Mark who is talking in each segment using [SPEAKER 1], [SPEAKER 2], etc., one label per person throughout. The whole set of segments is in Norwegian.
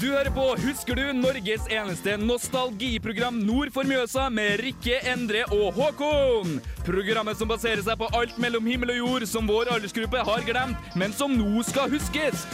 [SPEAKER 1] Du hører på Husker du? Norges eneste nostalgiprogram nord for Mjøsa med Rikke, Endre og Håkon. Programmet som baserer seg på alt mellom himmel og jord som vår aldersgruppe har glemt, men som nå skal huskes.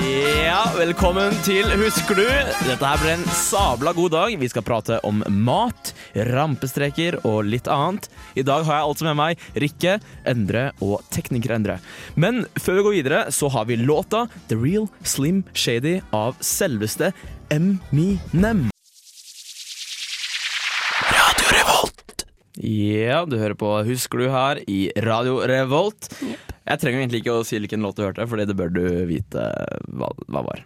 [SPEAKER 2] Ja, velkommen til Husker du? Dette her blir en sabla god dag. Vi skal prate om mat, rampestreker og litt annet. I dag har jeg altså med meg Rikke, Endre og tekniker Endre. Men før vi går videre, så har vi låta The Real Slim Shady av selveste Eminem. Radio Revolt. Ja, du hører på Husker du her i Radio Revolt. Jeg trenger egentlig ikke å si hvilken låt du hørte, Fordi det bør du vite hva, hva var.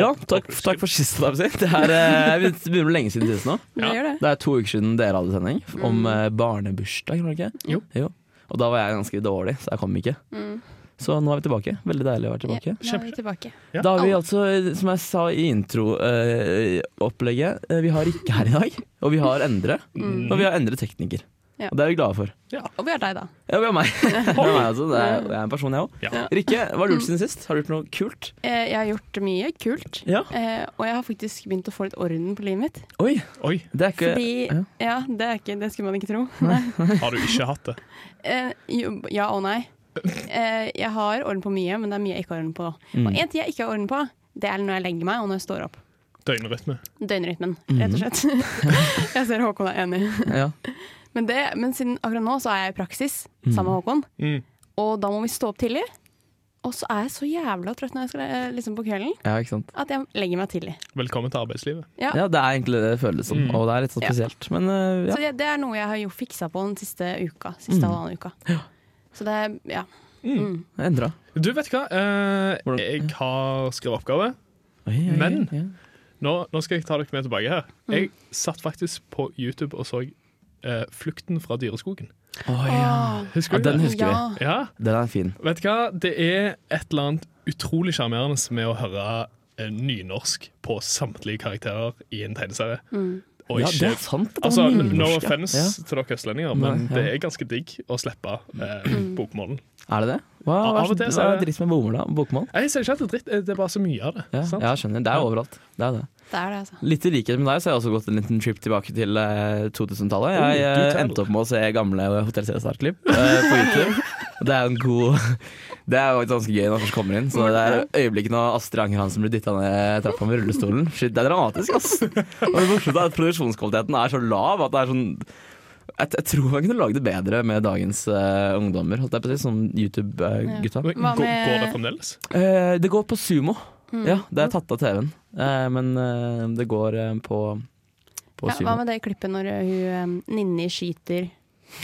[SPEAKER 2] Ja, takk, takk for sist. da, vil jeg si. Det er, eh, det begynner å bli lenge siden sist nå.
[SPEAKER 3] Det gjør det.
[SPEAKER 2] Det er to uker siden dere hadde sending om
[SPEAKER 3] Mm.
[SPEAKER 2] eh, barnebursdag, var det ikke?
[SPEAKER 4] Jo.
[SPEAKER 2] Og da var jeg ganske dårlig, så jeg kom ikke.
[SPEAKER 3] Mm.
[SPEAKER 2] Så nå er vi tilbake. Veldig deilig å være tilbake.
[SPEAKER 3] Ja, nå er vi tilbake.
[SPEAKER 4] Ja.
[SPEAKER 2] Da har vi altså, eh, som jeg sa i intro-opplegget, eh, vi har Rikke her i dag. Og vi har Endre. Og vi har Endre tekniker.
[SPEAKER 3] Mm. Ja.
[SPEAKER 2] Og det er vi glade for.
[SPEAKER 3] Og vi har deg, da.
[SPEAKER 2] Ja, vi har meg. Det er, meg altså. det er, jeg er en person, jeg òg.
[SPEAKER 4] Ja.
[SPEAKER 2] Rikke, hva har du gjort siden sist? Har du gjort noe kult?
[SPEAKER 3] Eh, Jeg har gjort mye kult.
[SPEAKER 2] Ja.
[SPEAKER 3] Eh, og jeg har faktisk begynt å få litt orden på livet mitt.
[SPEAKER 2] Oi,
[SPEAKER 4] Oi,
[SPEAKER 2] det er ikke
[SPEAKER 3] Fordi
[SPEAKER 2] ja.
[SPEAKER 3] Ja, det, er ikke, det skulle man ikke tro.
[SPEAKER 4] har du ikke hatt det?
[SPEAKER 3] Eh, jo, ja og nei. Eh, jeg har orden på mye, men det er mye jeg ikke har orden på.
[SPEAKER 2] Mm.
[SPEAKER 3] Og en ting jeg ikke har orden på, det er når jeg legger meg og når jeg står opp.
[SPEAKER 4] Døgnrytme.
[SPEAKER 3] Døgnrytmen, rett
[SPEAKER 2] Mm.
[SPEAKER 3] og slett. jeg ser Håkon er enig.
[SPEAKER 2] Ja.
[SPEAKER 3] Men, det, men siden akkurat nå så er jeg i praksis sammen med Håkon,
[SPEAKER 4] Mm.
[SPEAKER 3] og da må vi stå opp tidlig. Og så er jeg så jævla trøtt når jeg skal eh, liksom på kvelden
[SPEAKER 2] ja, ikke sant.
[SPEAKER 3] at jeg legger meg tidlig.
[SPEAKER 4] Velkommen til arbeidslivet.
[SPEAKER 3] Ja.
[SPEAKER 2] Ja, det er egentlig det det føles som,
[SPEAKER 4] Mm.
[SPEAKER 2] og det er litt sånn
[SPEAKER 3] Ja.
[SPEAKER 2] spesielt. Men eh, ja.
[SPEAKER 3] Så det, det er noe jeg har jo fiksa på den siste uka. Siste
[SPEAKER 2] Mm.
[SPEAKER 3] halvannen uka. Så det er ja.
[SPEAKER 4] Mm.
[SPEAKER 3] Mm.
[SPEAKER 2] Endra.
[SPEAKER 4] Du, vet du hva? Eh,
[SPEAKER 2] Hvordan-
[SPEAKER 4] jeg har skrevet oppgave. Men- Nå, nå skal jeg ta dere med tilbake her.
[SPEAKER 2] Mm.
[SPEAKER 4] Jeg satt faktisk på YouTube og så eh, 'Flukten fra dyreskogen'.
[SPEAKER 2] Å ja. Ja,
[SPEAKER 4] Husker du
[SPEAKER 2] den
[SPEAKER 4] det?
[SPEAKER 2] husker vi.
[SPEAKER 3] ja.
[SPEAKER 4] Ah, Ja,
[SPEAKER 2] Den er fin.
[SPEAKER 4] vet du hva? Det er et eller annet utrolig sjarmerende med å høre eh, nynorsk på samtlige karakterer i en tegneserie.
[SPEAKER 3] Mm.
[SPEAKER 4] Og
[SPEAKER 2] ja, det
[SPEAKER 4] ikke
[SPEAKER 2] er sant. at
[SPEAKER 4] Altså,
[SPEAKER 2] den er
[SPEAKER 4] No
[SPEAKER 2] nynorsk, ja.
[SPEAKER 4] offense til dere østlendinger, men
[SPEAKER 2] Nei, ja.
[SPEAKER 4] det er ganske digg å slippe eh,
[SPEAKER 3] Mm.
[SPEAKER 4] bokmålen.
[SPEAKER 2] Ja. Er det det? Hva,
[SPEAKER 4] Av-
[SPEAKER 2] hva,
[SPEAKER 4] av og til
[SPEAKER 2] hva,
[SPEAKER 4] så er
[SPEAKER 2] er
[SPEAKER 4] det-
[SPEAKER 2] dritt med bomull, da? Bokmål?
[SPEAKER 4] Jeg sier ikke at det er dritt, eh, det er bare så mye av det.
[SPEAKER 2] Ja,
[SPEAKER 4] sant?
[SPEAKER 2] ja, jeg skjønner. Det er overalt. Det er det.
[SPEAKER 3] Det er det, altså.
[SPEAKER 2] Litt i likhet med deg så har jeg også gått en liten trip tilbake til eh, 2000-tallet.
[SPEAKER 4] Oh,
[SPEAKER 2] Jeg eh,
[SPEAKER 4] du teller.
[SPEAKER 2] endte opp med å se gamle Hotell Cæsar-klipp eh, på YouTube. Og Det er jo en god Det er jo faktisk ganske gøy når man først kommer inn. Så det er øyeblikket når Astrid Anger Hansen blir dytta ned trappa med rullestolen. Shit, det er dramatisk, ass. Og det morsomste er at produksjonskvaliteten er så lav at det er sånn jeg, jeg tror man kunne lagd det bedre med dagens eh, ungdommer, holdt jeg på å si, som eh, YouTube-gutta.
[SPEAKER 4] Men,
[SPEAKER 3] Hva
[SPEAKER 4] går,
[SPEAKER 3] med-
[SPEAKER 4] går det fremdeles?
[SPEAKER 2] Eh, det går på Sumo.
[SPEAKER 3] Mm.
[SPEAKER 2] Ja, det er tatt av TV-en. Eh, men eh, det går eh, på, på
[SPEAKER 3] Ja,
[SPEAKER 2] Sumo.
[SPEAKER 3] hva med det klippet når eh, hun eh, Ninni skyter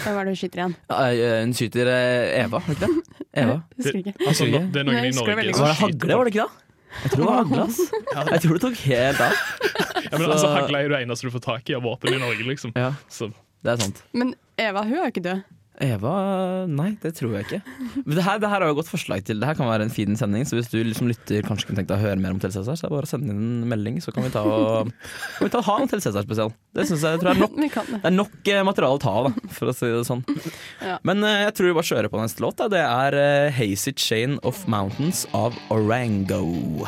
[SPEAKER 3] Hvem er det hun skyter igjen?
[SPEAKER 2] Ja, eh, Hun skyter eh, Eva, var det ikke det? Eva.
[SPEAKER 3] Husker ikke.
[SPEAKER 4] Altså,
[SPEAKER 2] Husker
[SPEAKER 4] no,
[SPEAKER 2] ikke.
[SPEAKER 4] det er
[SPEAKER 3] Nei,
[SPEAKER 4] noen i
[SPEAKER 3] jeg husker det veldig
[SPEAKER 4] Norge
[SPEAKER 2] Var det
[SPEAKER 4] som
[SPEAKER 2] hagle, var det ikke det? Jeg tror det var hagle, ass. Jeg tror det tok helt av.
[SPEAKER 4] Ja, men altså,
[SPEAKER 2] Så-
[SPEAKER 4] Hagle er jo det eneste du får tak i av våpen i Norge, liksom.
[SPEAKER 2] Ja,
[SPEAKER 4] Så,
[SPEAKER 2] det er sant.
[SPEAKER 3] Men Eva, hun er jo ikke død.
[SPEAKER 2] Eva Nei, det tror jeg ikke. Men det her, det her har jo godt forslag til. Det her kan være en fin sending, så hvis du liksom lytter kanskje kunne tenkt deg å høre mer om Hotell Cæsar, så er det bare å sende inn en melding, så kan vi ta og kan vi ta, ha en Hotell Cæsar-spesial. Det synes jeg tror jeg er nok
[SPEAKER 3] Vi kan det.
[SPEAKER 2] Det er nok eh, materiale å ta av, da, for å si det sånn.
[SPEAKER 3] Ja.
[SPEAKER 2] Men eh, jeg tror vi bare kjører på neste låt. Da. Det er eh, Hazy Chain of Mountains av Orango.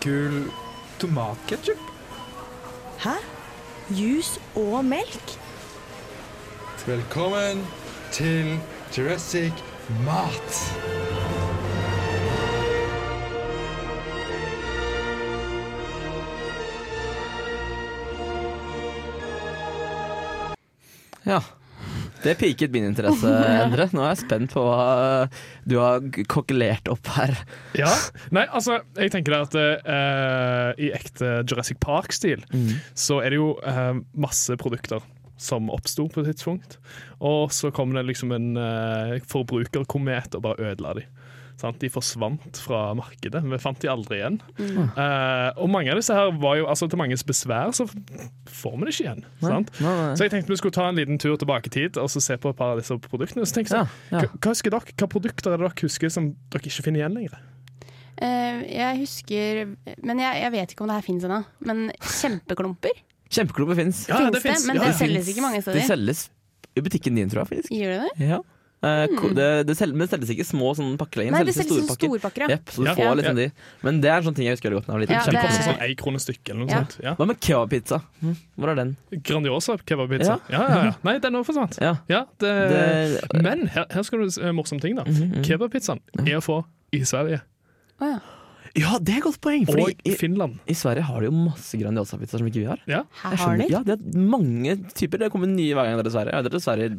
[SPEAKER 5] Kul tomatketchup?
[SPEAKER 6] Hæ? Jus og melk?
[SPEAKER 5] Velkommen til Jurassic Mat.
[SPEAKER 2] Ja. Det piket min interesse, Endre. Nå er jeg spent på hva eh, du har g- kokkelert opp her.
[SPEAKER 4] ja. Nei, altså, jeg tenker det at eh, i ekte Jurassic Park-stil,
[SPEAKER 2] Mm.
[SPEAKER 4] så er det jo eh, masse produkter som oppsto på et tidspunkt. Og så kom det liksom en eh, forbrukerkomet og bare ødela de. Sant? De forsvant fra markedet. Vi fant de aldri igjen.
[SPEAKER 2] Mm.
[SPEAKER 4] Eh, og mange av disse her var jo altså, til manges besvær, så får vi det ikke igjen. Sant?
[SPEAKER 2] Nei, nei, nei.
[SPEAKER 4] Så jeg tenkte vi skulle ta en liten tur tilbake i tid og så se på et par av disse produktene. Så tenkte jeg,
[SPEAKER 2] Ja, ja.
[SPEAKER 4] hva- Hva husker dere? Hva produkter er det dere husker som dere ikke finner igjen lenger?
[SPEAKER 3] Eh, jeg husker Men jeg, jeg vet ikke om det her fins ennå. Men kjempeklumper
[SPEAKER 2] Kjempeklubber fins.
[SPEAKER 3] Finnes det? Men det selges ikke mange steder.
[SPEAKER 2] De selges i butikken din, tror jeg. faktisk
[SPEAKER 3] gjør det det?
[SPEAKER 2] ja. Eh, ko- det, det sel- men det selges ikke små sånne pakker lenger.
[SPEAKER 3] Hmm. Nei, det
[SPEAKER 2] i
[SPEAKER 3] selges som
[SPEAKER 2] store pakker.
[SPEAKER 3] storpakker. ja.
[SPEAKER 2] Jepp, så du
[SPEAKER 4] Ja.
[SPEAKER 2] får liksom de. Men det er en sånn ting jeg husker veldig godt. da jeg var
[SPEAKER 3] Ja,
[SPEAKER 2] liten.
[SPEAKER 4] De
[SPEAKER 3] det-
[SPEAKER 4] koster
[SPEAKER 2] Kjempegodt.
[SPEAKER 4] sånn én krone stykket eller noe
[SPEAKER 3] Ja.
[SPEAKER 4] sånt. Ja.
[SPEAKER 2] Hva med kebabpizza? Mm, Hvor er den?
[SPEAKER 4] Grandiosa kebabpizza. Ja. Ja, ja, Nei, den òg forsvant.
[SPEAKER 2] Ja.
[SPEAKER 4] Ja, det...
[SPEAKER 2] Det- Mhm,
[SPEAKER 4] Men her, her skal du se en morsom ting, da. Kebabpizzaen er å få i Sverige
[SPEAKER 3] Å, ja.
[SPEAKER 2] ja, det er et godt poeng! Fordi
[SPEAKER 4] og
[SPEAKER 2] i,
[SPEAKER 4] Finland.
[SPEAKER 2] i Sverige har de jo masse Grandiosa-pizzaer som ikke vi har.
[SPEAKER 4] Ja.
[SPEAKER 3] Her
[SPEAKER 2] Jeg
[SPEAKER 3] har
[SPEAKER 2] skjønner.
[SPEAKER 3] de.
[SPEAKER 2] Ja, det er sånn- mange typer. Det kommer nye hver gang dere dessverre. Jeg vet dere dessverre i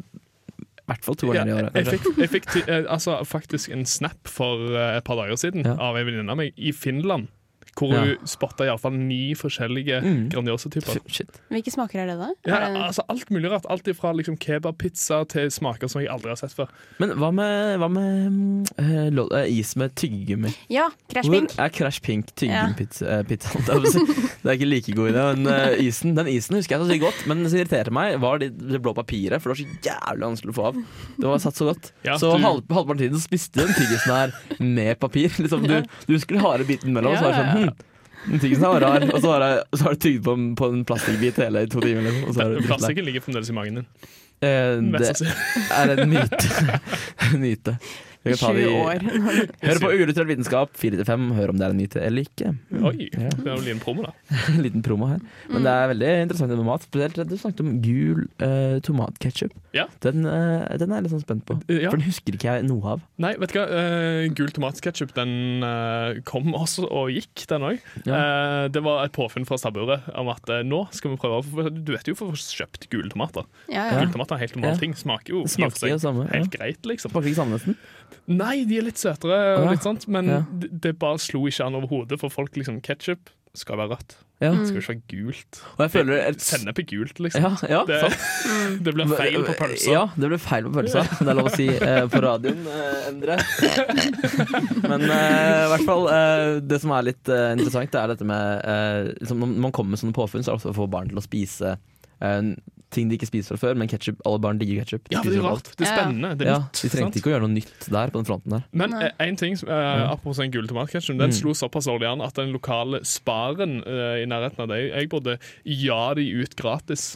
[SPEAKER 2] hvert fall to
[SPEAKER 4] Ja,
[SPEAKER 2] ganger i året.
[SPEAKER 4] jeg
[SPEAKER 2] kanskje.
[SPEAKER 4] fikk, jeg fikk ti- eh, altså, faktisk en snap for eh, et par dager siden
[SPEAKER 2] Ja.
[SPEAKER 4] av ei venninne av meg i Finland. Hvor
[SPEAKER 2] Ja.
[SPEAKER 4] hun spotta iallfall ni forskjellige
[SPEAKER 2] Mm.
[SPEAKER 4] Grandiosa-typer.
[SPEAKER 2] F- Shit.
[SPEAKER 3] Hvilke smaker er det, da?
[SPEAKER 4] Ja,
[SPEAKER 3] Er det,
[SPEAKER 4] altså Alt mulig rart. Alt fra liksom, kebabpizza til smaker som jeg aldri har sett før.
[SPEAKER 2] Men hva med, hva med mm, eh, lo- eh, is med tyggegummi?
[SPEAKER 3] ja, Crash
[SPEAKER 2] Hvor
[SPEAKER 3] Pink.
[SPEAKER 2] er Crash Pink
[SPEAKER 3] Ja.
[SPEAKER 2] tyggegummipizzaen? Det er ikke like god idé, men eh, isen, den isen husker jeg så sykt godt. Men det som irriterte meg, var det, det blå papiret, for det var så jævlig vanskelig å få av. Det var satt så godt.
[SPEAKER 4] Ja,
[SPEAKER 2] så
[SPEAKER 4] du-
[SPEAKER 2] halv, halvparten av tiden så spiste du den tyggisen her med papir. Liksom, du, du husker den harde biten mellom, og så var det sånn hm, den tyggisen her var rar, og så var det- så har du tygd på, en- på en plastikkbit hele i to timer. Liksom, og så er du drittlei.
[SPEAKER 4] Plastikken ligger fremdeles i magen din.
[SPEAKER 2] Eh,
[SPEAKER 4] Mest
[SPEAKER 2] det
[SPEAKER 4] sannsynlig.
[SPEAKER 2] er en myte. en myte. Vi kan ta det
[SPEAKER 3] Sju
[SPEAKER 2] i-
[SPEAKER 3] år.
[SPEAKER 2] Hør på Uillustrert vitenskap fire til fem, hør om det er en myte eller ikke.
[SPEAKER 3] Mm.
[SPEAKER 4] Oi, det er jo en liten promo, da.
[SPEAKER 2] En liten promo her. Men det er veldig interessant det med mat. Spesielt at du snakket om gul uh, tomatketchup.
[SPEAKER 4] Ja.
[SPEAKER 2] Den, eh, den er jeg litt sånn spent på.
[SPEAKER 4] Ja.
[SPEAKER 2] For den husker ikke jeg noe av.
[SPEAKER 4] Nei, vet du hva? Eh, gul tomatketchup den eh, kom også og gikk, den òg. det var et påfunn fra stabburet om at eh, nå skal vi prøve å få- Du vet jo for å få kjøpt gule tomater.
[SPEAKER 3] Ja, ja.
[SPEAKER 4] Gule tomater er helt normal
[SPEAKER 2] Ja.
[SPEAKER 4] ting. Smaker jo
[SPEAKER 2] Det
[SPEAKER 4] i og for
[SPEAKER 2] smaker
[SPEAKER 4] seg
[SPEAKER 2] jo samme. Ja.
[SPEAKER 4] helt greit, liksom.
[SPEAKER 2] Smaker ikke samme nesten.
[SPEAKER 4] Nei, de er litt søtere,
[SPEAKER 2] Å, ja.
[SPEAKER 4] og litt sånt, men
[SPEAKER 2] Ja.
[SPEAKER 4] det det bare slo ikke an overhodet, for folk liksom Ketsjup skal være rødt.
[SPEAKER 2] Ja.
[SPEAKER 4] Det skal ikke være gult.
[SPEAKER 2] Og jeg føler et-
[SPEAKER 4] Sennep er gult, liksom.
[SPEAKER 2] Ja, ja,
[SPEAKER 4] Det,
[SPEAKER 2] sant. Mm.
[SPEAKER 4] det blir feil på pølsa.
[SPEAKER 2] Ja, det ble feil på pølsa. Det er lov å si eh, på radioen, eh, Endre. Men eh, i hvert fall, eh, det som er litt eh, interessant, det er dette med eh, liksom, Når man kommer med sånne påfunn, så er det også å få barn til å spise eh, ting de ikke spiser fra før. Men ketchup, alle barn digger ketsjup.
[SPEAKER 4] Ja, for det er rart. Det er
[SPEAKER 3] Ja.
[SPEAKER 4] spennende. Det er
[SPEAKER 2] Ja,
[SPEAKER 4] nytt.
[SPEAKER 2] de
[SPEAKER 4] sant?
[SPEAKER 2] trengte ikke å gjøre noe nytt der på den fronten der.
[SPEAKER 4] Men
[SPEAKER 3] Nei.
[SPEAKER 4] eh, en ting, som, eh, apropos den gule tomatketchupen, den slo såpass dårlig an at den lokale sparen eh, i nærheten av deg jeg bodde, ja de ut gratis.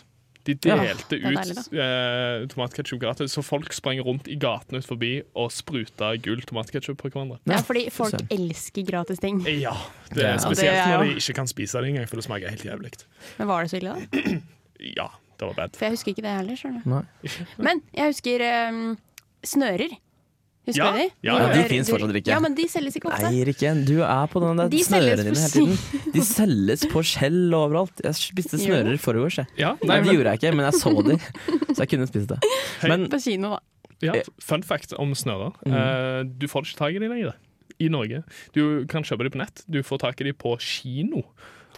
[SPEAKER 4] De delte
[SPEAKER 3] det er
[SPEAKER 4] ut eh, tomatketchup gratis, så folk sprang rundt i gatene ut forbi og spruta gul tomatketchup på hverandre.
[SPEAKER 3] ja, fordi folk
[SPEAKER 2] søren.
[SPEAKER 3] elsker gratis ting.
[SPEAKER 4] Eh, Ja, det
[SPEAKER 2] Ja.
[SPEAKER 4] er spesielt
[SPEAKER 3] Det er jo-
[SPEAKER 4] når de ikke kan spise det engang, for det smaker helt jævlig.
[SPEAKER 3] Men var det så ille, da?
[SPEAKER 4] Ja, det var bad.
[SPEAKER 3] For jeg husker ikke det heller. skjønner du.
[SPEAKER 2] Nei.
[SPEAKER 3] Men jeg husker ehm, snører. Husker
[SPEAKER 4] Ja,
[SPEAKER 3] du de?
[SPEAKER 4] ja, ja.
[SPEAKER 3] Hvor
[SPEAKER 2] Ja, de
[SPEAKER 3] du-
[SPEAKER 2] finnes fortsatt ikke.
[SPEAKER 3] Ja, men de selges ikke ofte.
[SPEAKER 2] Nei, Rikken, du er på den der
[SPEAKER 3] De
[SPEAKER 2] snørene
[SPEAKER 3] selges
[SPEAKER 2] dine hele
[SPEAKER 3] på
[SPEAKER 2] tiden. De selges på skjell overalt. Jeg spiste
[SPEAKER 3] Gjør
[SPEAKER 2] snører i forgårs, jeg.
[SPEAKER 4] Ja,
[SPEAKER 2] Nei,
[SPEAKER 4] nei,
[SPEAKER 2] det
[SPEAKER 4] men,
[SPEAKER 2] gjorde jeg ikke, men jeg så de, så jeg kunne spist det. Men
[SPEAKER 3] På kino, da.
[SPEAKER 4] ja, fun fact om snører. Eh, du får ikke tak i dem lenger i Norge. Du kan kjøpe dem på nett. Du får tak i dem på kino.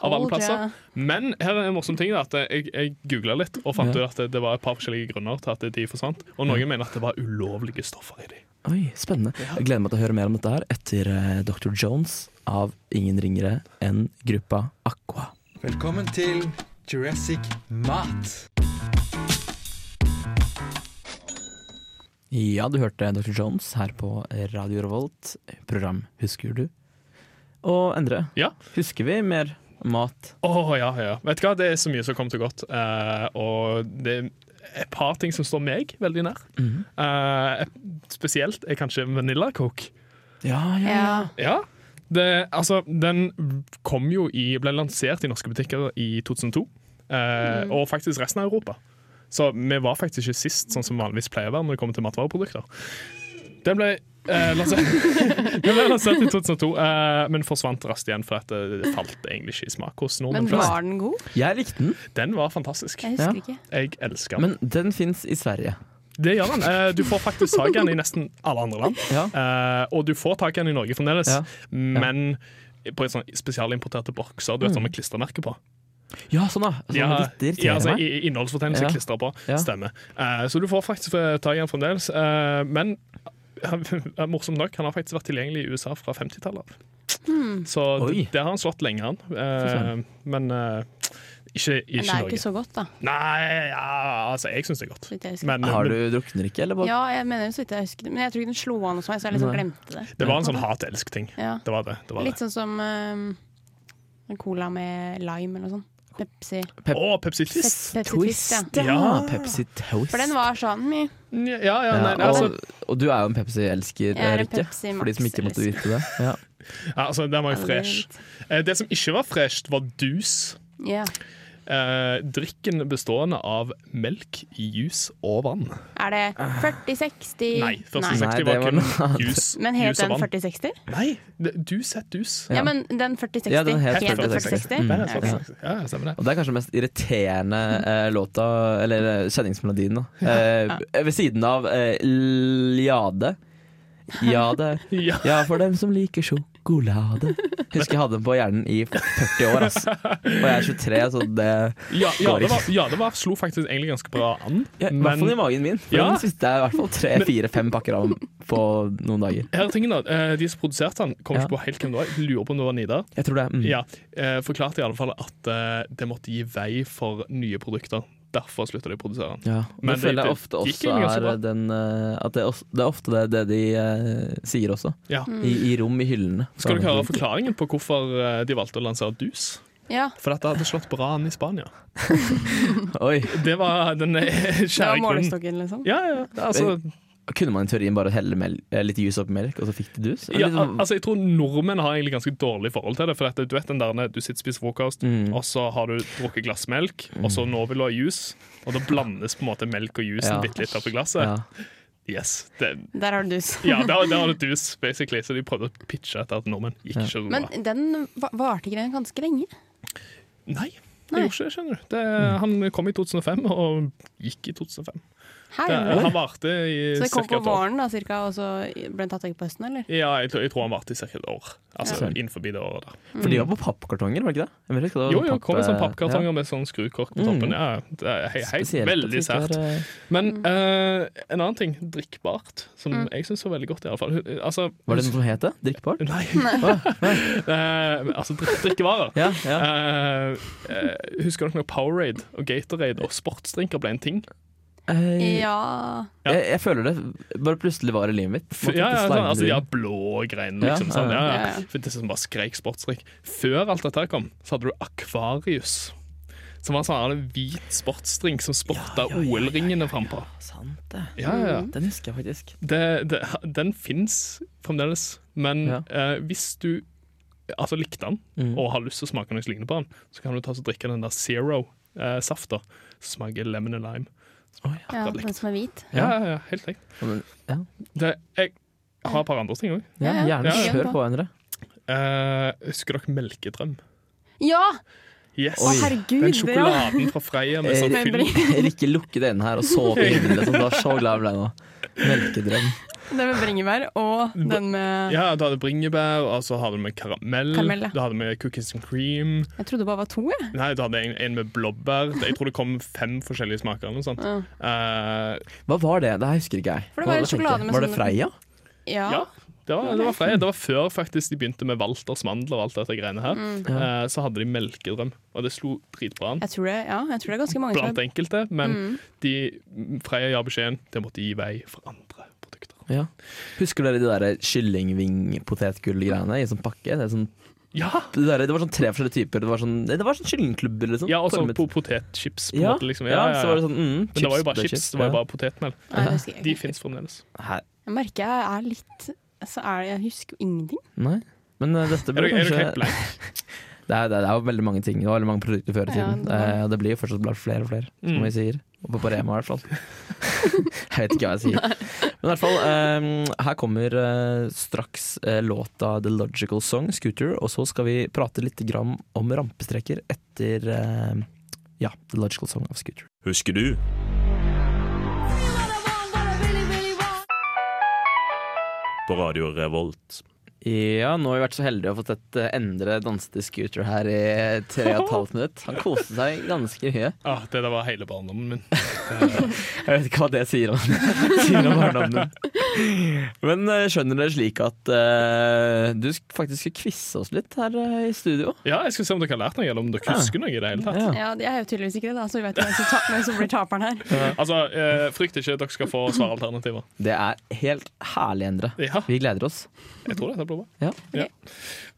[SPEAKER 4] Av alle
[SPEAKER 3] Told ya.
[SPEAKER 4] plasser. Men her er en morsom ting da, at jeg, jeg googla litt og fant
[SPEAKER 2] Ja.
[SPEAKER 4] ut at det, det var et par forskjellige grunner til at de forsvant. Og noen mener at det var ulovlige stoffer i de.
[SPEAKER 2] Oi, spennende. Jeg gleder meg til å høre mer om dette her etter eh, Dr. Jones av ingen ringere enn gruppa Aqua.
[SPEAKER 5] Velkommen til Jurassic Mat.
[SPEAKER 2] Ja, du hørte Dr. Jones her på Radio Revolt, program Husker du? Og Endre,
[SPEAKER 4] Ja.
[SPEAKER 2] husker vi mer mat?
[SPEAKER 4] Å ja, ja. Vet du hva, det er så mye som kommer til godt. Eh, og det er et par ting som står meg veldig nær. Eh, spesielt er kanskje Vanilla Coke.
[SPEAKER 2] Ja,
[SPEAKER 3] Ja.
[SPEAKER 4] Ja. Det, altså, den kom jo i, ble lansert i norske butikker i 2002, eh,
[SPEAKER 3] Mm.
[SPEAKER 4] og faktisk resten av Europa. Så vi var faktisk ikke sist, sånn som vanligvis pleier å være når det kommer til matvareprodukter. Den ble, eh, lansert, den ble lansert i 2002, eh, men forsvant raskt igjen, for at det falt egentlig ikke i smak hos nordmenn.
[SPEAKER 3] Men
[SPEAKER 4] flest.
[SPEAKER 3] var Eh. den god?
[SPEAKER 2] Jeg likte den,
[SPEAKER 4] Den var fantastisk.
[SPEAKER 3] Jeg husker
[SPEAKER 2] Ja.
[SPEAKER 3] ikke.
[SPEAKER 4] Jeg elsker den.
[SPEAKER 2] men den fins i Sverige.
[SPEAKER 4] Det gjør den. Eh, du får faktisk tak i den i nesten alle andre land.
[SPEAKER 2] Ja.
[SPEAKER 4] Eh, og du får tak i den i Norge fremdeles,
[SPEAKER 2] Ja. Mm.
[SPEAKER 4] men på et sånn spesialimporterte bokser du vet, sånn med klistremerke på.
[SPEAKER 2] Ja, sånn da! Sånn
[SPEAKER 4] Ja,
[SPEAKER 2] litt irriterer
[SPEAKER 4] ja, altså,
[SPEAKER 2] meg.
[SPEAKER 4] i- i Innholdsfortegnelse
[SPEAKER 2] Ja.
[SPEAKER 4] klistret på.
[SPEAKER 2] Ja.
[SPEAKER 4] Stemmer. Eh, så du får faktisk eh, tak i den fremdeles. Eh, men eh, morsomt nok, han har faktisk vært tilgjengelig i USA fra 50-tallet. av.
[SPEAKER 3] Hmm.
[SPEAKER 4] Så
[SPEAKER 2] Oi.
[SPEAKER 4] d- der har han slått lenge, han. Eh,
[SPEAKER 2] søren.
[SPEAKER 4] men eh, ikke,
[SPEAKER 3] Men det
[SPEAKER 4] ikke
[SPEAKER 3] er jo ikke
[SPEAKER 4] Norge.
[SPEAKER 3] så godt, da.
[SPEAKER 4] Nei, ja, altså, jeg syns det er godt.
[SPEAKER 3] Så vidt jeg husker.
[SPEAKER 4] Men, eh,
[SPEAKER 2] Har
[SPEAKER 4] men-
[SPEAKER 2] du drukner ikke, eller? bare-
[SPEAKER 3] Ja, jeg mener jo så vidt jeg husker det. Men jeg tror ikke den slo an hos meg, så jeg liksom
[SPEAKER 2] Nei.
[SPEAKER 3] glemte det.
[SPEAKER 4] Det var en sånn hat-elsk-ting.
[SPEAKER 3] Ja.
[SPEAKER 4] Det var det. det, var det.
[SPEAKER 3] Litt sånn som ehm, en cola med lime eller noe sånt. Pepsi.
[SPEAKER 2] Pep-
[SPEAKER 4] Å, Pepsi
[SPEAKER 3] Pe-
[SPEAKER 4] Twist!
[SPEAKER 3] Pepsi Twist, ja.
[SPEAKER 4] Ja.
[SPEAKER 2] Pepsi Twist.
[SPEAKER 3] For den var sånn mye.
[SPEAKER 4] Ja, ja, nei,
[SPEAKER 2] ja,
[SPEAKER 4] altså,
[SPEAKER 2] og, og du er jo en Pepsi-elsker,
[SPEAKER 3] Jeg er en
[SPEAKER 2] Rikke.
[SPEAKER 3] Pepsi
[SPEAKER 2] For de som ikke måtte vite det. Ja.
[SPEAKER 4] ja, altså, den var jo fresh. Eh, Det som ikke var fresht, var dus.
[SPEAKER 3] Ja.
[SPEAKER 4] Eh, drikken bestående av melk, juice og vann.
[SPEAKER 3] Er det
[SPEAKER 2] Ah.
[SPEAKER 3] 40-60?
[SPEAKER 4] Nei,
[SPEAKER 3] Nei.
[SPEAKER 4] 4060
[SPEAKER 2] Nei, det
[SPEAKER 4] var
[SPEAKER 2] var
[SPEAKER 4] kun
[SPEAKER 2] noe annet.
[SPEAKER 4] juice,
[SPEAKER 3] Men het
[SPEAKER 4] juice
[SPEAKER 3] den
[SPEAKER 4] og vann.
[SPEAKER 3] 40-60?
[SPEAKER 4] Nei, det- dus het dus.
[SPEAKER 3] Ja.
[SPEAKER 2] Ja.
[SPEAKER 3] men den 40-60
[SPEAKER 2] Ja, den het
[SPEAKER 3] het
[SPEAKER 2] 40-60.
[SPEAKER 3] 40-60?
[SPEAKER 2] Mm.
[SPEAKER 4] Der er
[SPEAKER 3] Ja,
[SPEAKER 4] sant.
[SPEAKER 3] ok.
[SPEAKER 4] Ja, ja, stemmer det.
[SPEAKER 2] Og det er kanskje den mest irriterende eh, låta, eller eh, kjenningsmelodien, da. Eh, ved siden av eh, Ljade. Jade.
[SPEAKER 4] Ja.
[SPEAKER 2] Ja, for dem som liker sjokolade. Husker jeg hadde den på hjernen i 40 år, ass. Og jeg er 23, så det
[SPEAKER 4] Ja, ja, det var, ja, det var, slo faktisk egentlig ganske bra an.
[SPEAKER 2] ja, I hvert
[SPEAKER 4] Men
[SPEAKER 2] fall i magen min. For
[SPEAKER 4] Ja.
[SPEAKER 2] Den siste er i hvert fall tre-fire-fem pakker av den på noen dager.
[SPEAKER 4] her er tingen da, eh, de som produserte den, kom
[SPEAKER 2] Ja.
[SPEAKER 4] ikke på helt hvem det var. Jeg Lurer på om det var Nidar.
[SPEAKER 2] Jeg tror det. er- Mm.
[SPEAKER 4] Ja, eh, Forklarte i alle fall at eh, det måtte gi vei for nye produkter. Derfor slutta de å produsere den.
[SPEAKER 2] Ja, og
[SPEAKER 4] Men
[SPEAKER 2] det føler jeg
[SPEAKER 4] det-
[SPEAKER 2] ofte
[SPEAKER 4] det gikk
[SPEAKER 2] også
[SPEAKER 4] egentlig ganske
[SPEAKER 2] er den eh, At det, os- det er ofte det, det de eh, sier også.
[SPEAKER 4] Ja.
[SPEAKER 3] Mm.
[SPEAKER 2] I, I rom i hyllene.
[SPEAKER 4] Skal du høre forklaringen på hvorfor eh, de valgte å lansere dus?
[SPEAKER 3] Ja.
[SPEAKER 4] For dette hadde slått bra an i Spania.
[SPEAKER 2] Oi,
[SPEAKER 4] Det var den eh,
[SPEAKER 3] Det
[SPEAKER 4] kjære
[SPEAKER 3] var
[SPEAKER 4] grunnen.
[SPEAKER 3] målestokken, liksom?
[SPEAKER 4] Ja, ja, altså,
[SPEAKER 2] Kunne man i teorien bare helle mel eh, litt juice oppi melk, og så fikk de dus? Eller
[SPEAKER 4] ja,
[SPEAKER 2] liksom-
[SPEAKER 4] altså, jeg tror nordmenn har egentlig ganske dårlig forhold til det. For at, du vet den der, du sitter og spiser frokost,
[SPEAKER 2] Mm.
[SPEAKER 4] og så har du drukket glassmelk, og så nå vil du ha juice, og da blandes på en måte melk og juicen
[SPEAKER 2] Ja.
[SPEAKER 4] bitte litt oppi glasset.
[SPEAKER 2] ja.
[SPEAKER 4] Yes, det,
[SPEAKER 3] Der har du dus.
[SPEAKER 4] ja, der, der har du dus, basically. Så de prøvde å pitche etter at nordmenn gikk ikke så bra.
[SPEAKER 3] Men den va- varte ikke den ganske lenge?
[SPEAKER 4] Nei, det
[SPEAKER 3] Nei.
[SPEAKER 4] gjorde ikke det, skjønner du. Det, han kom i 2005, og gikk i 2005.
[SPEAKER 3] Her,
[SPEAKER 4] Det,
[SPEAKER 3] gjorde den.
[SPEAKER 4] han varte i
[SPEAKER 3] så det
[SPEAKER 4] ca.
[SPEAKER 3] kom på
[SPEAKER 4] et år.
[SPEAKER 3] våren, da, cirka, og så ble den tatt vekk på høsten, eller?
[SPEAKER 4] Ja, jeg tror, jeg tror han varte i ca. et år. Altså
[SPEAKER 2] Ja.
[SPEAKER 4] innenfor det året der.
[SPEAKER 2] For de var på pappkartonger, var det ikke det? Jeg vet ikke, det var
[SPEAKER 4] Jo,
[SPEAKER 2] sånn
[SPEAKER 4] jo,
[SPEAKER 2] papp-
[SPEAKER 4] kom i sånn
[SPEAKER 2] eh,
[SPEAKER 4] pappkartonger med sånn skrukork
[SPEAKER 2] Mm.
[SPEAKER 4] på toppen. Ja, det er hei, hei,
[SPEAKER 2] Spesielt at
[SPEAKER 4] veldig
[SPEAKER 2] det ikke
[SPEAKER 4] sært.
[SPEAKER 2] var, eh,
[SPEAKER 4] Men
[SPEAKER 3] Mm.
[SPEAKER 4] eh, en annen ting, drikkbart, som jeg syns var veldig godt, i alle fall. Hun- Altså,
[SPEAKER 2] Var det noe som het det? Drikkbart?
[SPEAKER 4] Nei.
[SPEAKER 2] Å,
[SPEAKER 4] Eh, altså drikk, drikkevarer.
[SPEAKER 2] Ja, ja.
[SPEAKER 4] Eh, eh, husker dere når Powerade og Gatorade og sportsdrinker ble en ting?
[SPEAKER 2] Eh,
[SPEAKER 3] Ja
[SPEAKER 2] jeg, jeg føler det bare plutselig var i livet mitt.
[SPEAKER 4] F- Ja, ja, sånn, altså De har blå greiene,
[SPEAKER 2] Ja,
[SPEAKER 4] liksom. Sånn,
[SPEAKER 2] ja,
[SPEAKER 4] ja,
[SPEAKER 3] ja.
[SPEAKER 4] ja.
[SPEAKER 3] Ja, ja.
[SPEAKER 4] For det som bare skreik sportsdrikk. Før alt dette her kom, så hadde du Akvarius. Som var en sånn en hvit sportsdrink som sporta OL-ringene frampå.
[SPEAKER 2] Sant det.
[SPEAKER 4] Ja, ja, ja.
[SPEAKER 2] Den husker jeg faktisk.
[SPEAKER 4] det, det, den fins fremdeles, men
[SPEAKER 2] Ja.
[SPEAKER 4] eh, hvis du altså, likte den
[SPEAKER 2] Mm.
[SPEAKER 4] og har lyst til å smake noe som ligner på den, så kan du ta og drikke den der Zero-safta. smaker lemon and lime. Smaker
[SPEAKER 3] Ja,
[SPEAKER 4] akkurat
[SPEAKER 3] den
[SPEAKER 4] likt.
[SPEAKER 3] som er hvit.
[SPEAKER 4] Ja, ja, ja, helt likt.
[SPEAKER 2] Ja, men- ja.
[SPEAKER 4] Det, jeg har et par andre ting òg.
[SPEAKER 2] Ja,
[SPEAKER 3] Ja, ja.
[SPEAKER 2] gjerne
[SPEAKER 4] Ja, ja.
[SPEAKER 2] kjør på, Endre.
[SPEAKER 4] husker dere Melkedrøm?
[SPEAKER 3] Ja!
[SPEAKER 4] Yes.
[SPEAKER 3] Å,
[SPEAKER 4] Den
[SPEAKER 3] herregud! Ja.
[SPEAKER 4] sjokoladen fra Freia med sånn
[SPEAKER 2] Eh,
[SPEAKER 4] fyll.
[SPEAKER 2] Rikke lukket øynene her og så på himmelen. Sånn, du var så glad jeg ble nå. Melkedrøm.
[SPEAKER 3] Den med bringebær og den med
[SPEAKER 4] Ja, Du hadde bringebær, og så hadde du med karamell.
[SPEAKER 3] Karamell, ja.
[SPEAKER 4] Du hadde med cookies and cream.
[SPEAKER 3] Jeg trodde det bare var to, jeg.
[SPEAKER 4] Nei, du hadde en, en med blåbær. Jeg tror det kom fem forskjellige smaker. eller noe sånt.
[SPEAKER 3] Ja.
[SPEAKER 4] Eh,
[SPEAKER 2] Hva var det? Det her husker ikke jeg.
[SPEAKER 3] For det var
[SPEAKER 2] Hva
[SPEAKER 3] en
[SPEAKER 2] tenkte jeg?
[SPEAKER 3] sjokolade med
[SPEAKER 2] Var det
[SPEAKER 3] sånne-
[SPEAKER 2] Freia?
[SPEAKER 3] Ja.
[SPEAKER 4] ja, det var, det var Freia. Det var før faktisk de begynte med Walters mandler og alt dette greiene her. Eh, så hadde de melkedrøm, og det slo dritbra an
[SPEAKER 3] Jeg tror det, Mm. ja, jeg tror det er ganske mange som
[SPEAKER 4] blant
[SPEAKER 3] er Mm.
[SPEAKER 4] enkelte. Men de, Freia ga beskjeden det måtte gi vei for andre produkter.
[SPEAKER 2] Ja. Husker dere de der kyllingving-potetgull-greiene i sånn pakke? Det, er sånn,
[SPEAKER 4] Ja!
[SPEAKER 2] det, der, det var sånn tre forskjellige typer. Det var sånn, det var sånn kyllingklubber, liksom.
[SPEAKER 4] ja og så
[SPEAKER 2] Formet-
[SPEAKER 4] på potetchips. på en
[SPEAKER 2] ja.
[SPEAKER 4] måte, liksom.
[SPEAKER 2] ja, så var det sånn mm,
[SPEAKER 4] Men det var jo
[SPEAKER 2] ble
[SPEAKER 4] bare chips, det var jo bare potetmel.
[SPEAKER 3] Nei, det husker jeg
[SPEAKER 4] De
[SPEAKER 3] ikke.
[SPEAKER 4] fins fremdeles.
[SPEAKER 2] Hæ?
[SPEAKER 3] Jeg merker jeg er litt altså, er, Jeg husker jo ingenting.
[SPEAKER 2] Nei. Men eh, dette
[SPEAKER 4] Er
[SPEAKER 2] burde
[SPEAKER 4] du, er du
[SPEAKER 2] kanskje
[SPEAKER 4] helt blank?
[SPEAKER 2] det er, det, er, det er jo veldig mange ting. Det var veldig mange produkter før i
[SPEAKER 3] Ja,
[SPEAKER 2] tiden.
[SPEAKER 3] det
[SPEAKER 2] Eh,
[SPEAKER 3] var-
[SPEAKER 2] Og det, blir jo fortsatt blant flere og flere, som
[SPEAKER 4] Mm.
[SPEAKER 2] vi sier. Oppe på Rema i hvert fall. jeg vet ikke hva jeg sier. Men i hvert fall, eh, her kommer eh, straks eh, låta The Logical Song, Scooter. Og så skal vi prate litt grann om rampestreker etter eh, ja, The Logical Song av Scooter.
[SPEAKER 7] Husker du? På Radio Revolt.
[SPEAKER 2] Ja, nå har vi vært så heldige å ha fått et eh, Endre danse til Scooter her i tre og et halvt minutt. Han koste seg ganske mye.
[SPEAKER 4] Ah, det der var hele barndommen min.
[SPEAKER 2] Jeg vet ikke hva det sier om, sier om barndommen din. Men eh, skjønner dere slik at eh, du sk- faktisk skulle quize oss litt her eh, i studio?
[SPEAKER 4] Ja, jeg skal se om dere har lært noe, eller om dere husker noe i det hele tatt.
[SPEAKER 2] Ja.
[SPEAKER 3] Ja, Jeg er jo tydeligvis ikke det, da, så vi vet jo hvem som, ta- hvem som blir taperen her.
[SPEAKER 4] Eh, altså, eh, frykt ikke, dere skal få svaralternativer.
[SPEAKER 2] Det er helt herlig, Endre.
[SPEAKER 4] Ja,
[SPEAKER 2] Vi gleder oss.
[SPEAKER 4] jeg tror dette blir bra.
[SPEAKER 2] Ja.
[SPEAKER 4] Ja.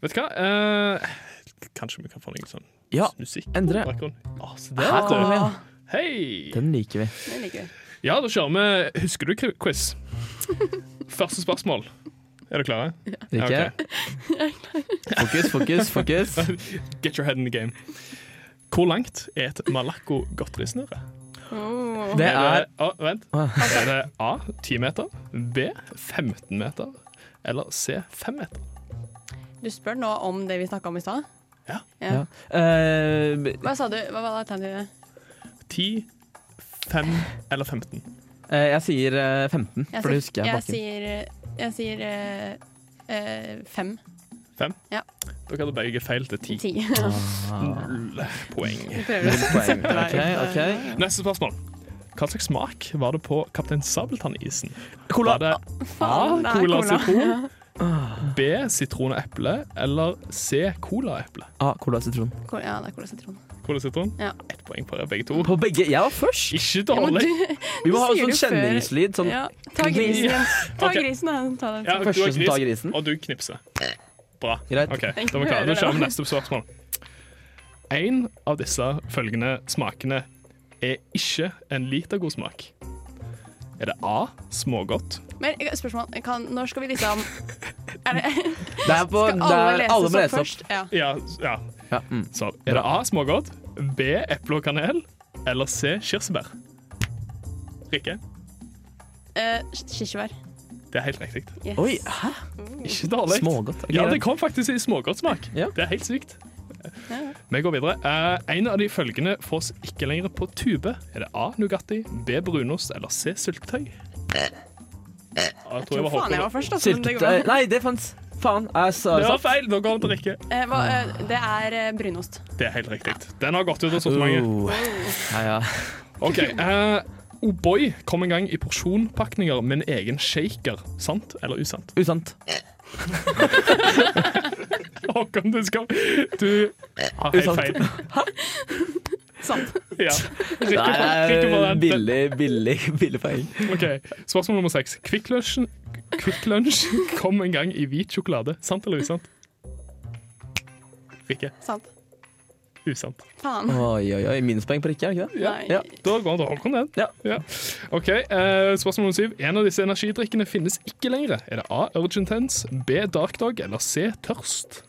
[SPEAKER 4] Vet du hva? Eh, kanskje vi kan få noe sånn
[SPEAKER 2] Ja,
[SPEAKER 4] musikk
[SPEAKER 2] Ah, Endre. Ah,
[SPEAKER 4] på bakgrunnen. Å, Ah, se der,
[SPEAKER 2] Her
[SPEAKER 4] vet du.
[SPEAKER 2] kommer den.
[SPEAKER 4] Hei!
[SPEAKER 2] Den liker vi.
[SPEAKER 3] Det liker vi.
[SPEAKER 4] Ja, da kjører vi Husker du-quiz. Første spørsmål. Er dere klare?
[SPEAKER 2] Rikke,
[SPEAKER 4] Ja, ok.
[SPEAKER 2] fokus, fokus, fokus.
[SPEAKER 4] Get your head in the game. Hvor langt er et malakko-godterisnøre?
[SPEAKER 3] Oh.
[SPEAKER 2] Det er
[SPEAKER 4] Å, vent. Er det A 10 meter, B 15 meter eller C 5 meter?
[SPEAKER 3] Du spør nå om det vi snakka om i stad.
[SPEAKER 4] Ja.
[SPEAKER 2] ja. Eh,
[SPEAKER 3] Hva sa du? Hva var alternativet?
[SPEAKER 4] 10, 5 eller 15?
[SPEAKER 2] eh, Jeg sier eh, 15, for det husker jeg.
[SPEAKER 3] jeg
[SPEAKER 2] bakken.
[SPEAKER 3] sier, jeg sier eh, eh, fem.
[SPEAKER 4] 5?
[SPEAKER 3] Ja.
[SPEAKER 4] Dere hadde begge feil til 10.
[SPEAKER 3] Ti. Vi
[SPEAKER 4] Null poeng.
[SPEAKER 3] prøver å
[SPEAKER 2] Poeng.
[SPEAKER 3] sette deg ut.
[SPEAKER 2] Ah, Ok, ok.
[SPEAKER 4] Neste spørsmål. Hva slags smak var det på Kaptein Sabeltann-isen?
[SPEAKER 2] Cola. Ah,
[SPEAKER 4] Var det A.
[SPEAKER 3] Faen, det er
[SPEAKER 4] Cola
[SPEAKER 3] cola.
[SPEAKER 4] sitron. B. Sitron og eple. Eller C. Cola og eple.
[SPEAKER 2] Ah, cola og sitron.
[SPEAKER 3] Cola- Ja, det er cola sitron.
[SPEAKER 4] Cola sitron.
[SPEAKER 3] Ja.
[SPEAKER 4] Ett poeng på dere begge to.
[SPEAKER 2] På begge. Jeg var først!
[SPEAKER 4] Ikke
[SPEAKER 3] Ja, men
[SPEAKER 4] dårlig.
[SPEAKER 3] du-
[SPEAKER 2] Vi må ha
[SPEAKER 3] sier
[SPEAKER 2] en sånn
[SPEAKER 3] du før.
[SPEAKER 2] kjenningslyd. Sånn
[SPEAKER 3] Ja, ta grisen igjen. Ta
[SPEAKER 4] Ok.
[SPEAKER 3] grisen, da. Ta den.
[SPEAKER 4] Ja, du
[SPEAKER 2] Første
[SPEAKER 4] har
[SPEAKER 2] som
[SPEAKER 4] gris,
[SPEAKER 2] tar grisen.
[SPEAKER 4] Og du knipser. Bra.
[SPEAKER 2] Greit.
[SPEAKER 4] Ok, da er vi klare. Da kjører vi neste spørsmål. En av disse følgende smakene er ikke en litergod smak. Er det A. Smågodt.
[SPEAKER 3] Men jeg- spørsmål. Kan, når skal vi liksom er det,
[SPEAKER 2] Det er på
[SPEAKER 3] Skal
[SPEAKER 2] det
[SPEAKER 3] alle
[SPEAKER 2] er,
[SPEAKER 3] lese
[SPEAKER 2] Alle
[SPEAKER 3] opp
[SPEAKER 2] må lese opp.
[SPEAKER 3] først? Ja.
[SPEAKER 4] Ja, ja.
[SPEAKER 2] Ja, mm.
[SPEAKER 4] Så er det A. Smågodt. B. Eple og kanel. Eller C. Kirsebær. Rikke,
[SPEAKER 3] Eh, Kirsebær.
[SPEAKER 4] det er helt riktig.
[SPEAKER 3] Yes.
[SPEAKER 2] Oi, hæ?
[SPEAKER 4] Ikke dårlig.
[SPEAKER 2] Smågodt. ok,
[SPEAKER 4] Ja, det
[SPEAKER 2] greit.
[SPEAKER 4] kom faktisk i smågodtsmak.
[SPEAKER 2] Ja.
[SPEAKER 4] Det er helt sykt.
[SPEAKER 3] Ja.
[SPEAKER 4] Vi går videre. Eh, en av de følgende fås ikke lenger på tube. Er det A. Nugatti, B. Brunost eller C. Syltetøy? Ja, jeg tror jeg var
[SPEAKER 3] faen jeg var
[SPEAKER 4] Håkon.
[SPEAKER 3] først, altså. men det,
[SPEAKER 2] Syltetøy
[SPEAKER 3] går bra.
[SPEAKER 2] Nei, det fantes. Faen. Jeg sa
[SPEAKER 4] Det var
[SPEAKER 2] satt.
[SPEAKER 4] feil! Nå går vi til Rikke.
[SPEAKER 3] Eh, hva, eh, det er eh, brunost.
[SPEAKER 4] Det er helt riktig. Den har gått ut av sortimentet.
[SPEAKER 2] Oh. Ja, ja.
[SPEAKER 4] OK. eh, O'boy kom en gang i porsjonpakninger med en egen shaker. Sant eller usant?
[SPEAKER 2] Usant.
[SPEAKER 4] Håkon, du skal Du har helt
[SPEAKER 2] Usant.
[SPEAKER 4] feil.
[SPEAKER 3] Sant.
[SPEAKER 4] Ja.
[SPEAKER 2] Det
[SPEAKER 4] Rikke, Rikke får
[SPEAKER 2] er
[SPEAKER 4] den. den.
[SPEAKER 2] billig, billig, billig poeng.
[SPEAKER 4] Ok, Spørsmål nummer seks. Kvikk Lunsjen- Kvikk Lunsj kom en gang i hvit sjokolade. Sant eller usant? Rikke.
[SPEAKER 3] Sant.
[SPEAKER 4] Usant.
[SPEAKER 3] Faen.
[SPEAKER 2] Oi, oi, oi. Minuspoeng på Rikke, er det ikke det?
[SPEAKER 4] Ja.
[SPEAKER 3] Nei.
[SPEAKER 2] Ja.
[SPEAKER 4] Da går det Håkon, den.
[SPEAKER 2] Ja.
[SPEAKER 4] OK, eh, spørsmål nummer syv. En av disse energidrikkene finnes ikke lenger. Er det A. Urgent Tense, B. Dark Dog eller C. Tørst?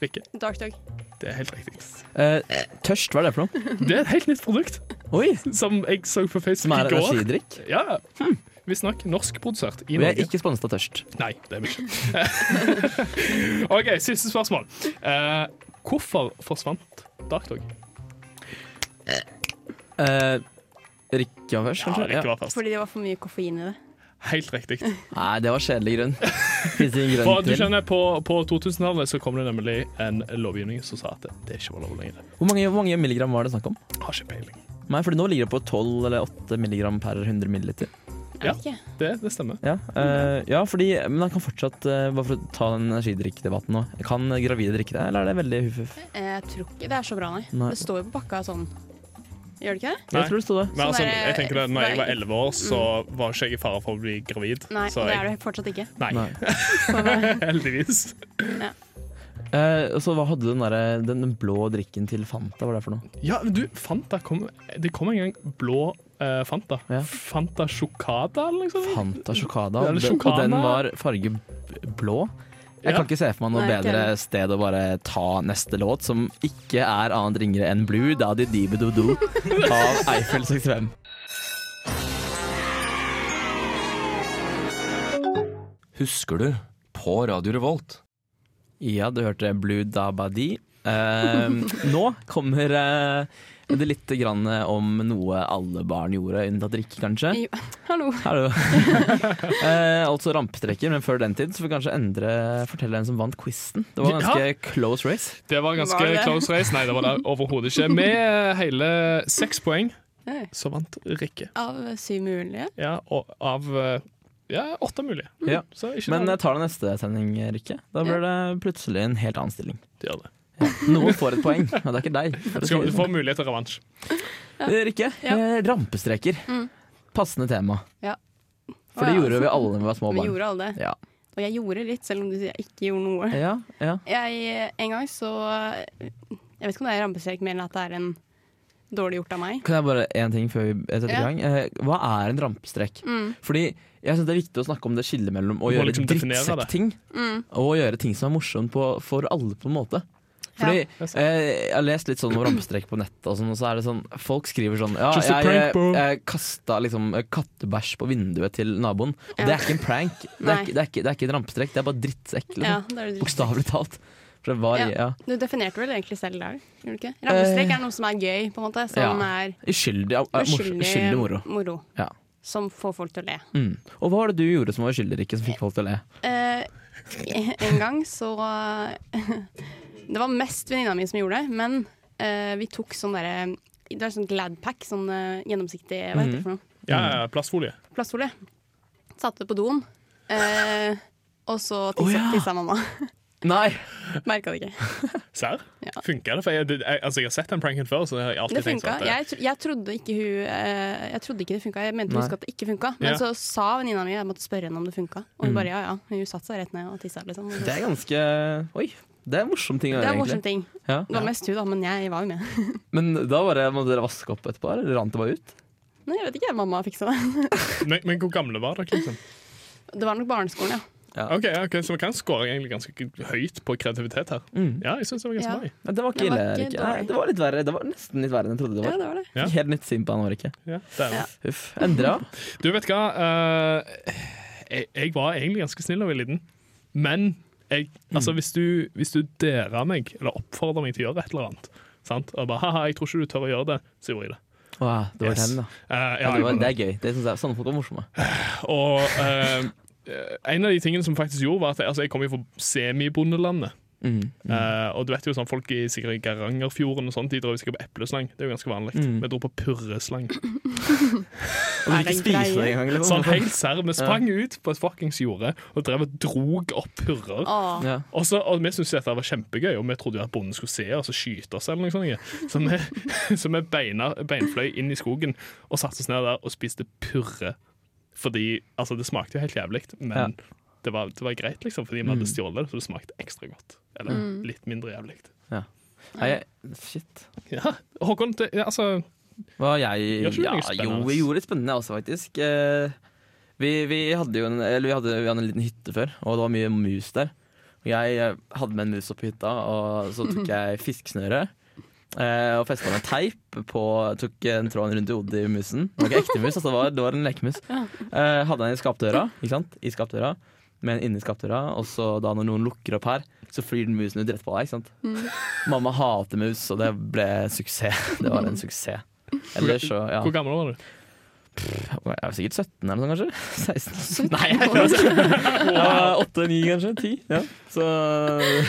[SPEAKER 4] Rikke.
[SPEAKER 3] Dark dog.
[SPEAKER 4] Det er helt riktig.
[SPEAKER 2] Eh, tørst, hva er det for noe?
[SPEAKER 4] Det er et helt nytt produkt
[SPEAKER 2] Oi,
[SPEAKER 4] som jeg så på
[SPEAKER 2] Som
[SPEAKER 4] Facebook
[SPEAKER 2] er
[SPEAKER 4] i går.
[SPEAKER 2] energidrikk?
[SPEAKER 4] Ja, Visstnok norskprodusert i
[SPEAKER 2] Vi er
[SPEAKER 4] Norge.
[SPEAKER 2] ikke sponset av Tørst.
[SPEAKER 4] Nei, det er vi ikke. OK, siste spørsmål. Eh, hvorfor forsvant Dark Dog?
[SPEAKER 2] Eh, Rikke var først, kanskje?
[SPEAKER 4] Rikke var først.
[SPEAKER 3] Fordi det var for mye koffein i det.
[SPEAKER 4] Helt riktig.
[SPEAKER 2] Nei, det var kjedelig grunn. Fins ingen
[SPEAKER 4] For
[SPEAKER 2] grunn
[SPEAKER 4] du
[SPEAKER 2] til.
[SPEAKER 4] skjønner, På, på 2000-tallet så kom det nemlig en lovgivning som sa at det ikke var lov lenger.
[SPEAKER 2] Hvor mange, hvor mange milligram var det snakk om?
[SPEAKER 4] Har ikke peiling.
[SPEAKER 2] Nei, fordi nå ligger det på 12 eller 8 milligram per 100 milliliter.
[SPEAKER 4] Ja.
[SPEAKER 3] Jeg vet ikke.
[SPEAKER 4] Det, det stemmer.
[SPEAKER 2] Ja, eh, ja fordi Men han kan fortsatt eh, Bare for å ta den energidrikkdebatten nå. Kan gravide drikke det, eller er det veldig huff-huff?
[SPEAKER 3] Eh, Jeg tror ikke det er så bra, nei.
[SPEAKER 2] Nei.
[SPEAKER 3] Det står jo på pakka sånn. Gjør det ikke det?
[SPEAKER 4] Nei.
[SPEAKER 2] Jeg tror det sto det.
[SPEAKER 4] Men
[SPEAKER 3] Sånn
[SPEAKER 4] altså,
[SPEAKER 3] er det-
[SPEAKER 4] jeg tenker det, når jeg var
[SPEAKER 3] Nei.
[SPEAKER 4] 11 år, så var ikke jeg i fare for å bli gravid.
[SPEAKER 3] Nei,
[SPEAKER 4] så
[SPEAKER 3] det
[SPEAKER 4] jeg,
[SPEAKER 3] er det fortsatt ikke.
[SPEAKER 4] Nei,
[SPEAKER 2] Nei.
[SPEAKER 3] Så det,
[SPEAKER 4] heldigvis.
[SPEAKER 2] Eh, og så hva hadde du den, derre- den, den blå drikken til Fanta, hva var det for noe?
[SPEAKER 4] Ja, men du, Fanta kom Det kom en gang blå eh, Fanta.
[SPEAKER 2] Ja.
[SPEAKER 4] Fanta Chocada, eller noe sånt?
[SPEAKER 2] Fanta Chocada.
[SPEAKER 4] Ja,
[SPEAKER 2] Og
[SPEAKER 4] eller
[SPEAKER 2] den, og den
[SPEAKER 4] Chocana.
[SPEAKER 2] var farge b- blå. Jeg
[SPEAKER 4] Ja.
[SPEAKER 2] kan ikke se for meg noe
[SPEAKER 3] Nei, ikke
[SPEAKER 2] bedre
[SPEAKER 3] heller.
[SPEAKER 2] sted å bare ta neste låt, som ikke er annet ringere enn Blue, da di di be do do av Eiffel 65.
[SPEAKER 8] Husker du? På Radio Revolt.
[SPEAKER 2] Ja, du hørte Blue Dabadi. Um, nå kommer eh, det litt grann om noe alle barn gjorde, unntatt drikke, kanskje.
[SPEAKER 3] Jo, hallo.
[SPEAKER 2] Hallo. eh, altså rampestreker, men før den tid så får vi kanskje endre fortelle hvem som vant quizen. Det var ganske close race.
[SPEAKER 4] Det var ganske
[SPEAKER 3] Var det?
[SPEAKER 4] close race. Nei, det var det overhodet ikke. Med eh, hele seks poeng
[SPEAKER 3] Nei.
[SPEAKER 4] så vant Rikke.
[SPEAKER 3] Av syv mulige.
[SPEAKER 4] Ja, og av eh, ja, åtte mulige.
[SPEAKER 2] Ja.
[SPEAKER 4] Så ikke
[SPEAKER 2] Men jeg
[SPEAKER 4] dårlig.
[SPEAKER 2] tar det neste sending, Rikke. Da blir det plutselig en helt annen stilling.
[SPEAKER 4] Det gjør det.
[SPEAKER 2] Noen får et poeng, og det er ikke deg. for å si
[SPEAKER 4] Skal,
[SPEAKER 2] det
[SPEAKER 4] du
[SPEAKER 2] sånn.
[SPEAKER 4] får mulighet til revansj.
[SPEAKER 2] Eh, Rikke,
[SPEAKER 3] Ja.
[SPEAKER 2] eh, rampestreker. Passende tema.
[SPEAKER 3] Ja.
[SPEAKER 2] For det
[SPEAKER 3] Å, ja,
[SPEAKER 2] gjorde vi
[SPEAKER 3] altså.
[SPEAKER 2] alle da vi var små
[SPEAKER 3] Vi
[SPEAKER 2] barn.
[SPEAKER 3] gjorde alle det.
[SPEAKER 2] Ja.
[SPEAKER 3] Og jeg gjorde litt, selv om du sier jeg ikke gjorde noe.
[SPEAKER 2] Ja, ja.
[SPEAKER 3] Jeg, en gang så Jeg vet ikke om det er rampestrek mer enn at det er en dårlig gjort av meg.
[SPEAKER 2] Kan jeg bare én ting før vi setter i
[SPEAKER 3] Ja. Mm.
[SPEAKER 2] gang? Eh, hva er en rampestrek? Fordi jeg synes det er viktig å snakke om det skillet mellom å
[SPEAKER 4] Du må
[SPEAKER 2] gjøre
[SPEAKER 4] liksom definere det.
[SPEAKER 2] drittsekkting
[SPEAKER 3] Mm.
[SPEAKER 2] og å gjøre ting som er morsomt på, for alle, på en måte. Fordi
[SPEAKER 4] det er
[SPEAKER 2] eh, Jeg har lest litt sånn om rampestrek på nettet, og, sånn, og så er det sånn folk skriver sånn Ja,
[SPEAKER 4] Just a
[SPEAKER 2] jeg,
[SPEAKER 4] prank, bro.
[SPEAKER 2] jeg, kasta liksom eh, kattebæsj på vinduet til naboen. Og
[SPEAKER 3] Ja.
[SPEAKER 2] det er ikke en prank. Det er
[SPEAKER 3] Nei.
[SPEAKER 2] ikke, det er ikke, det er ikke en rampestrek, det er bare drittsekk. Liksom.
[SPEAKER 3] Ja, det er det du-
[SPEAKER 2] Bokstavelig talt. For det var,
[SPEAKER 3] Ja.
[SPEAKER 2] ja.
[SPEAKER 3] Du definerte vel egentlig selv i dag? gjorde du ikke? Rammestrek er noe som er gøy, på en måte. Som
[SPEAKER 2] Eh, Ja.
[SPEAKER 3] Sånn er
[SPEAKER 2] Uskyldig, eh, mors-
[SPEAKER 3] uskyldig
[SPEAKER 2] uskyldig moro. Ja.
[SPEAKER 3] Som får folk til å le.
[SPEAKER 2] Mm. Og hva var det du gjorde som var uskyldig, Rikke, som fikk folk til å le?
[SPEAKER 3] Eh, en gang så Det var mest venninna mi som gjorde det, men eh, vi tok sånn derre Det er sånn Gladpack, sånn eh, gjennomsiktig Hva heter det
[SPEAKER 2] Mhm.
[SPEAKER 3] for noe?
[SPEAKER 4] Ja,
[SPEAKER 2] Mm.
[SPEAKER 4] ja, plastfolie.
[SPEAKER 3] plastfolie. Satte det på doen. Eh, og så tissa,
[SPEAKER 2] Å, ja.
[SPEAKER 3] tissa mamma.
[SPEAKER 2] Nei!
[SPEAKER 3] Merka det ikke.
[SPEAKER 4] Serr?
[SPEAKER 3] Ja.
[SPEAKER 4] Funka det? For jeg, jeg, altså, jeg har sett den pranken før, så jeg har alltid
[SPEAKER 3] Det
[SPEAKER 4] tenkt
[SPEAKER 3] funka.
[SPEAKER 4] sånn at det-
[SPEAKER 3] Jeg, tro- jeg trodde ikke hun eh, Jeg trodde ikke det funka. Jeg mente hun
[SPEAKER 2] Nei.
[SPEAKER 3] huske at det ikke funka. Men
[SPEAKER 4] Ja.
[SPEAKER 3] så sa venninna mi jeg måtte spørre henne om det funka. Og hun bare ja ja. Hun satte seg rett ned og tissa. Liksom.
[SPEAKER 2] Mm. Det
[SPEAKER 3] Det
[SPEAKER 2] er ganske Oi! Det er en morsom ting å
[SPEAKER 3] er
[SPEAKER 2] gjøre,
[SPEAKER 3] en morsom
[SPEAKER 2] egentlig.
[SPEAKER 3] ting.
[SPEAKER 2] Ja.
[SPEAKER 3] Det var mest hun, da, men jeg var jo med.
[SPEAKER 2] Men da bare måtte dere vaske opp etterpå, eller rant det bare ut?
[SPEAKER 3] Nei, jeg vet ikke, mamma fiksa det.
[SPEAKER 4] men, men hvor gamle var dere? Liksom?
[SPEAKER 3] Det var nok barneskolen, ja.
[SPEAKER 4] Ok, ja, ok, Så vi kan score egentlig ganske høyt på kreativitet her.
[SPEAKER 2] Mm.
[SPEAKER 4] Ja, jeg synes det var ganske
[SPEAKER 3] Ja.
[SPEAKER 4] bra. jeg.
[SPEAKER 2] Men det var ikke
[SPEAKER 3] Det var
[SPEAKER 2] ille,
[SPEAKER 3] ikke
[SPEAKER 2] Rikke. Nei,
[SPEAKER 3] dårlig.
[SPEAKER 2] det var litt verre. Det var nesten litt verre enn jeg trodde det
[SPEAKER 3] Ja,
[SPEAKER 2] var.
[SPEAKER 3] det var det.
[SPEAKER 4] Ja.
[SPEAKER 2] Helt nytt sinn på han var ikke.
[SPEAKER 4] Ja, det er det.
[SPEAKER 3] Ja.
[SPEAKER 2] Uff. Endra.
[SPEAKER 4] Du vet hva, eh, jeg, jeg var egentlig ganske snill da jeg var liten, men jeg,
[SPEAKER 2] Mm.
[SPEAKER 4] altså, hvis du, hvis du derer meg, eller oppfordrer meg til å gjøre et eller annet, sant? og bare haha, jeg tror ikke du tør å gjøre det, så gjorde jeg det.
[SPEAKER 2] Wow, det var
[SPEAKER 4] Yes.
[SPEAKER 2] den, da. Ja,
[SPEAKER 4] Eh, ja,
[SPEAKER 2] det, var,
[SPEAKER 4] jeg-
[SPEAKER 2] det er gøy. Det synes jeg, sånne folk er morsomme.
[SPEAKER 4] Og eh, en av de tingene som faktisk gjorde, var at jeg, altså, jeg kom jo fra semibondelandet.
[SPEAKER 2] Mm.
[SPEAKER 4] Eh, og du vet jo sånn folk i sikkert i Garangerfjorden og sånt, de drar jo sikkert på epleslang. Det er jo ganske vanlig. Vi dro på purreslang.
[SPEAKER 2] Og du
[SPEAKER 3] Er
[SPEAKER 2] ikke
[SPEAKER 3] det en
[SPEAKER 2] spise det
[SPEAKER 3] greie?
[SPEAKER 2] engang, liksom.
[SPEAKER 4] Sånn helt serr. Vi sprang ut på et fuckings jorde og drev og drog opp purrer.
[SPEAKER 3] Åh.
[SPEAKER 2] Ja.
[SPEAKER 4] Og, så, og vi syntes dette var kjempegøy, og vi trodde jo at bonden skulle se oss og skyte oss. eller noe sånt. Så vi, så vi beina, beinfløy inn i skogen og satte oss ned der og spiste purre. Fordi altså, det smakte jo helt jævlig, men
[SPEAKER 2] Ja. Mm.
[SPEAKER 4] det, var, det var greit, liksom, fordi vi hadde stjålet det, så det smakte ekstra godt. Eller litt mindre jævlig.
[SPEAKER 2] Nei, jeg- shit.
[SPEAKER 4] Ja, Håkon, det, ja, altså
[SPEAKER 2] Hva jeg
[SPEAKER 4] Gjør ikke du
[SPEAKER 2] ja,
[SPEAKER 4] noe spennende?
[SPEAKER 2] Jo, vi gjorde litt spennende jeg også, faktisk. Eh, Vi, vi hadde jo en, eller vi hadde, vi hadde en liten hytte før, og det var mye mus der. Og jeg eh, hadde med en mus opp på hytta, og så tok jeg fiskesnøre. eh, Og festa med teip på Tok en tråden rundt i hodet i musen. Det var ikke ekte mus, altså det var, det var en lekemus. Eh, Hadde den i skapdøra, ikke sant? I skapdøra. Men inni skapdøra, og så da når noen lukker opp her, så flyr den musen ut rett på deg. ikke sant? Mamma hater mus, og det ble suksess. Det var en suksess. Eller så, ja.
[SPEAKER 4] Hvor gammel var du?
[SPEAKER 2] Jeg var sikkert 17 eller noe sånt, kanskje? 16? Nei, jeg vet ikke. Ja, 8, 9 kanskje? 10? Ja. Så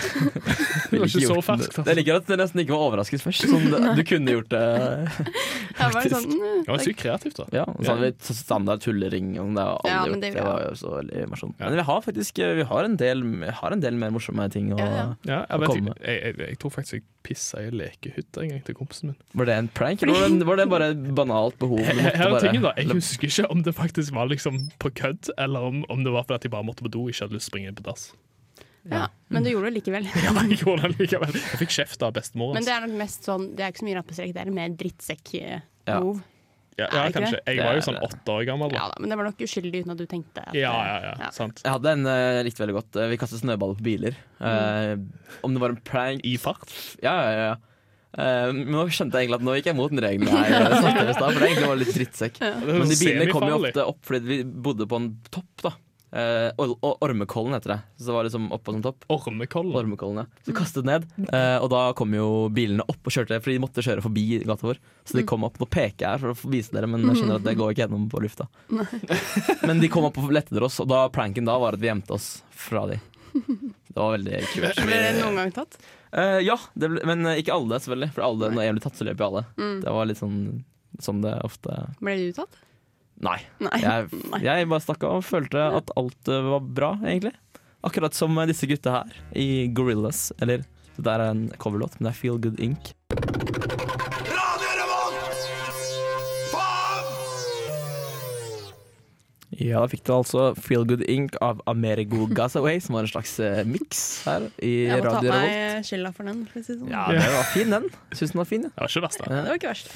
[SPEAKER 4] Det var ikke så
[SPEAKER 2] Gjort
[SPEAKER 4] ferskt. altså.
[SPEAKER 2] det. Jeg liker at det nesten ikke var overrasket først. Sånn, det- du kunne gjort det
[SPEAKER 3] Jeg var sånn, mm,
[SPEAKER 4] Det var sykt kreativt, da.
[SPEAKER 2] Ja, og så hadde vi t- standard tullering. Og sånn, det har alle
[SPEAKER 3] Ja, men
[SPEAKER 2] gjort.
[SPEAKER 3] det-
[SPEAKER 2] Det var jo så veldig morsomt.
[SPEAKER 4] Ja.
[SPEAKER 2] Men vi har faktisk eh, vi har en del, vi har en del mer morsomme ting. Og,
[SPEAKER 3] Ja, ja.
[SPEAKER 4] Ja, jeg, vet,
[SPEAKER 2] Komme.
[SPEAKER 4] ikke- jeg, jeg, jeg tror faktisk jeg pissa i lekehytta en gang til kompisen min.
[SPEAKER 2] Var det en prank, eller var det, var det bare et banalt behov? du
[SPEAKER 4] Her
[SPEAKER 2] måtte
[SPEAKER 4] her er
[SPEAKER 2] bare-
[SPEAKER 4] tingen da, Jeg husker ikke om det faktisk var liksom på kødd, eller om, om det var fordi at jeg bare måtte på do og ikke hadde lyst til å springe inn på dass.
[SPEAKER 3] ja. Men du gjorde det likevel.
[SPEAKER 4] Ja, Jeg gjorde det likevel. Jeg fikk kjeft av bestemor.
[SPEAKER 3] Men
[SPEAKER 4] Altså.
[SPEAKER 3] det er nok mest sånn Det er ikke så mye rampestrek, det er mer
[SPEAKER 2] Ja.
[SPEAKER 3] drittsekk-move.
[SPEAKER 4] Ja, ja,
[SPEAKER 3] er det ikke
[SPEAKER 4] kanskje.
[SPEAKER 3] det?
[SPEAKER 4] Jeg var jo
[SPEAKER 2] Det er
[SPEAKER 4] sånn
[SPEAKER 2] det.
[SPEAKER 4] åtte år gammel.
[SPEAKER 3] Ja
[SPEAKER 4] da.
[SPEAKER 3] da, men det var nok uskyldig uten at du tenkte at
[SPEAKER 4] Ja, ja, ja,
[SPEAKER 3] Ja.
[SPEAKER 4] sant.
[SPEAKER 2] Jeg hadde en eh, jeg likte veldig godt. Eh, Vi kastet snøballer på biler.
[SPEAKER 4] Mm.
[SPEAKER 2] Eh, Om det var en prank
[SPEAKER 4] I fart.
[SPEAKER 2] Ja, ja, ja. Eh, men nå skjønte jeg egentlig at nå gikk jeg mot den regelen jeg snakket om i stad, for det egentlig var litt drittsekk. Men de bilene kom jo
[SPEAKER 4] Semifarlig.
[SPEAKER 2] ofte opp fordi vi bodde på en topp, da. Eh, Or- Or- Ormekollen heter det. Så det var liksom oppå som topp.
[SPEAKER 4] Ormekollen.
[SPEAKER 2] Ormekollen, ja. Så vi kastet ned, eh, og da kom jo bilene opp og kjørte, for de måtte kjøre forbi gata vår. Så de kom opp. Nå peker jeg her for å vise dere, men jeg skjønner at det går ikke gjennom på lufta. Men de kom opp og lette etter oss, og da pranken da var at vi gjemte oss fra de. Det var veldig kult.
[SPEAKER 3] Ble det noen gang tatt?
[SPEAKER 2] Eh, ja, det ble, men eh, ikke alle, selvfølgelig. For alle, når jeg blir tatt, så løper jo alle. Det var litt sånn som det ofte
[SPEAKER 3] Ble du tatt?
[SPEAKER 2] Nei.
[SPEAKER 3] Nei.
[SPEAKER 2] Jeg,
[SPEAKER 3] Nei.
[SPEAKER 2] jeg bare stakk av og følte at alt eh, var bra, egentlig. Akkurat som eh, disse gutta her i Gorillas. Eller det der er en coverlåt, men det er Feel Good Inc. Ja, da fikk du altså Feel Good Inc. av Amerigo Gasaway, som var en slags eh, miks her i
[SPEAKER 3] Jeg må ta
[SPEAKER 2] Radio
[SPEAKER 3] på
[SPEAKER 2] Revolt.
[SPEAKER 3] meg skylda for den. For å si det, sånn.
[SPEAKER 2] Ja, den var fin, den. Syns den var fin, ja.
[SPEAKER 4] Det var ikke verst, da.
[SPEAKER 3] Det var ikke verst.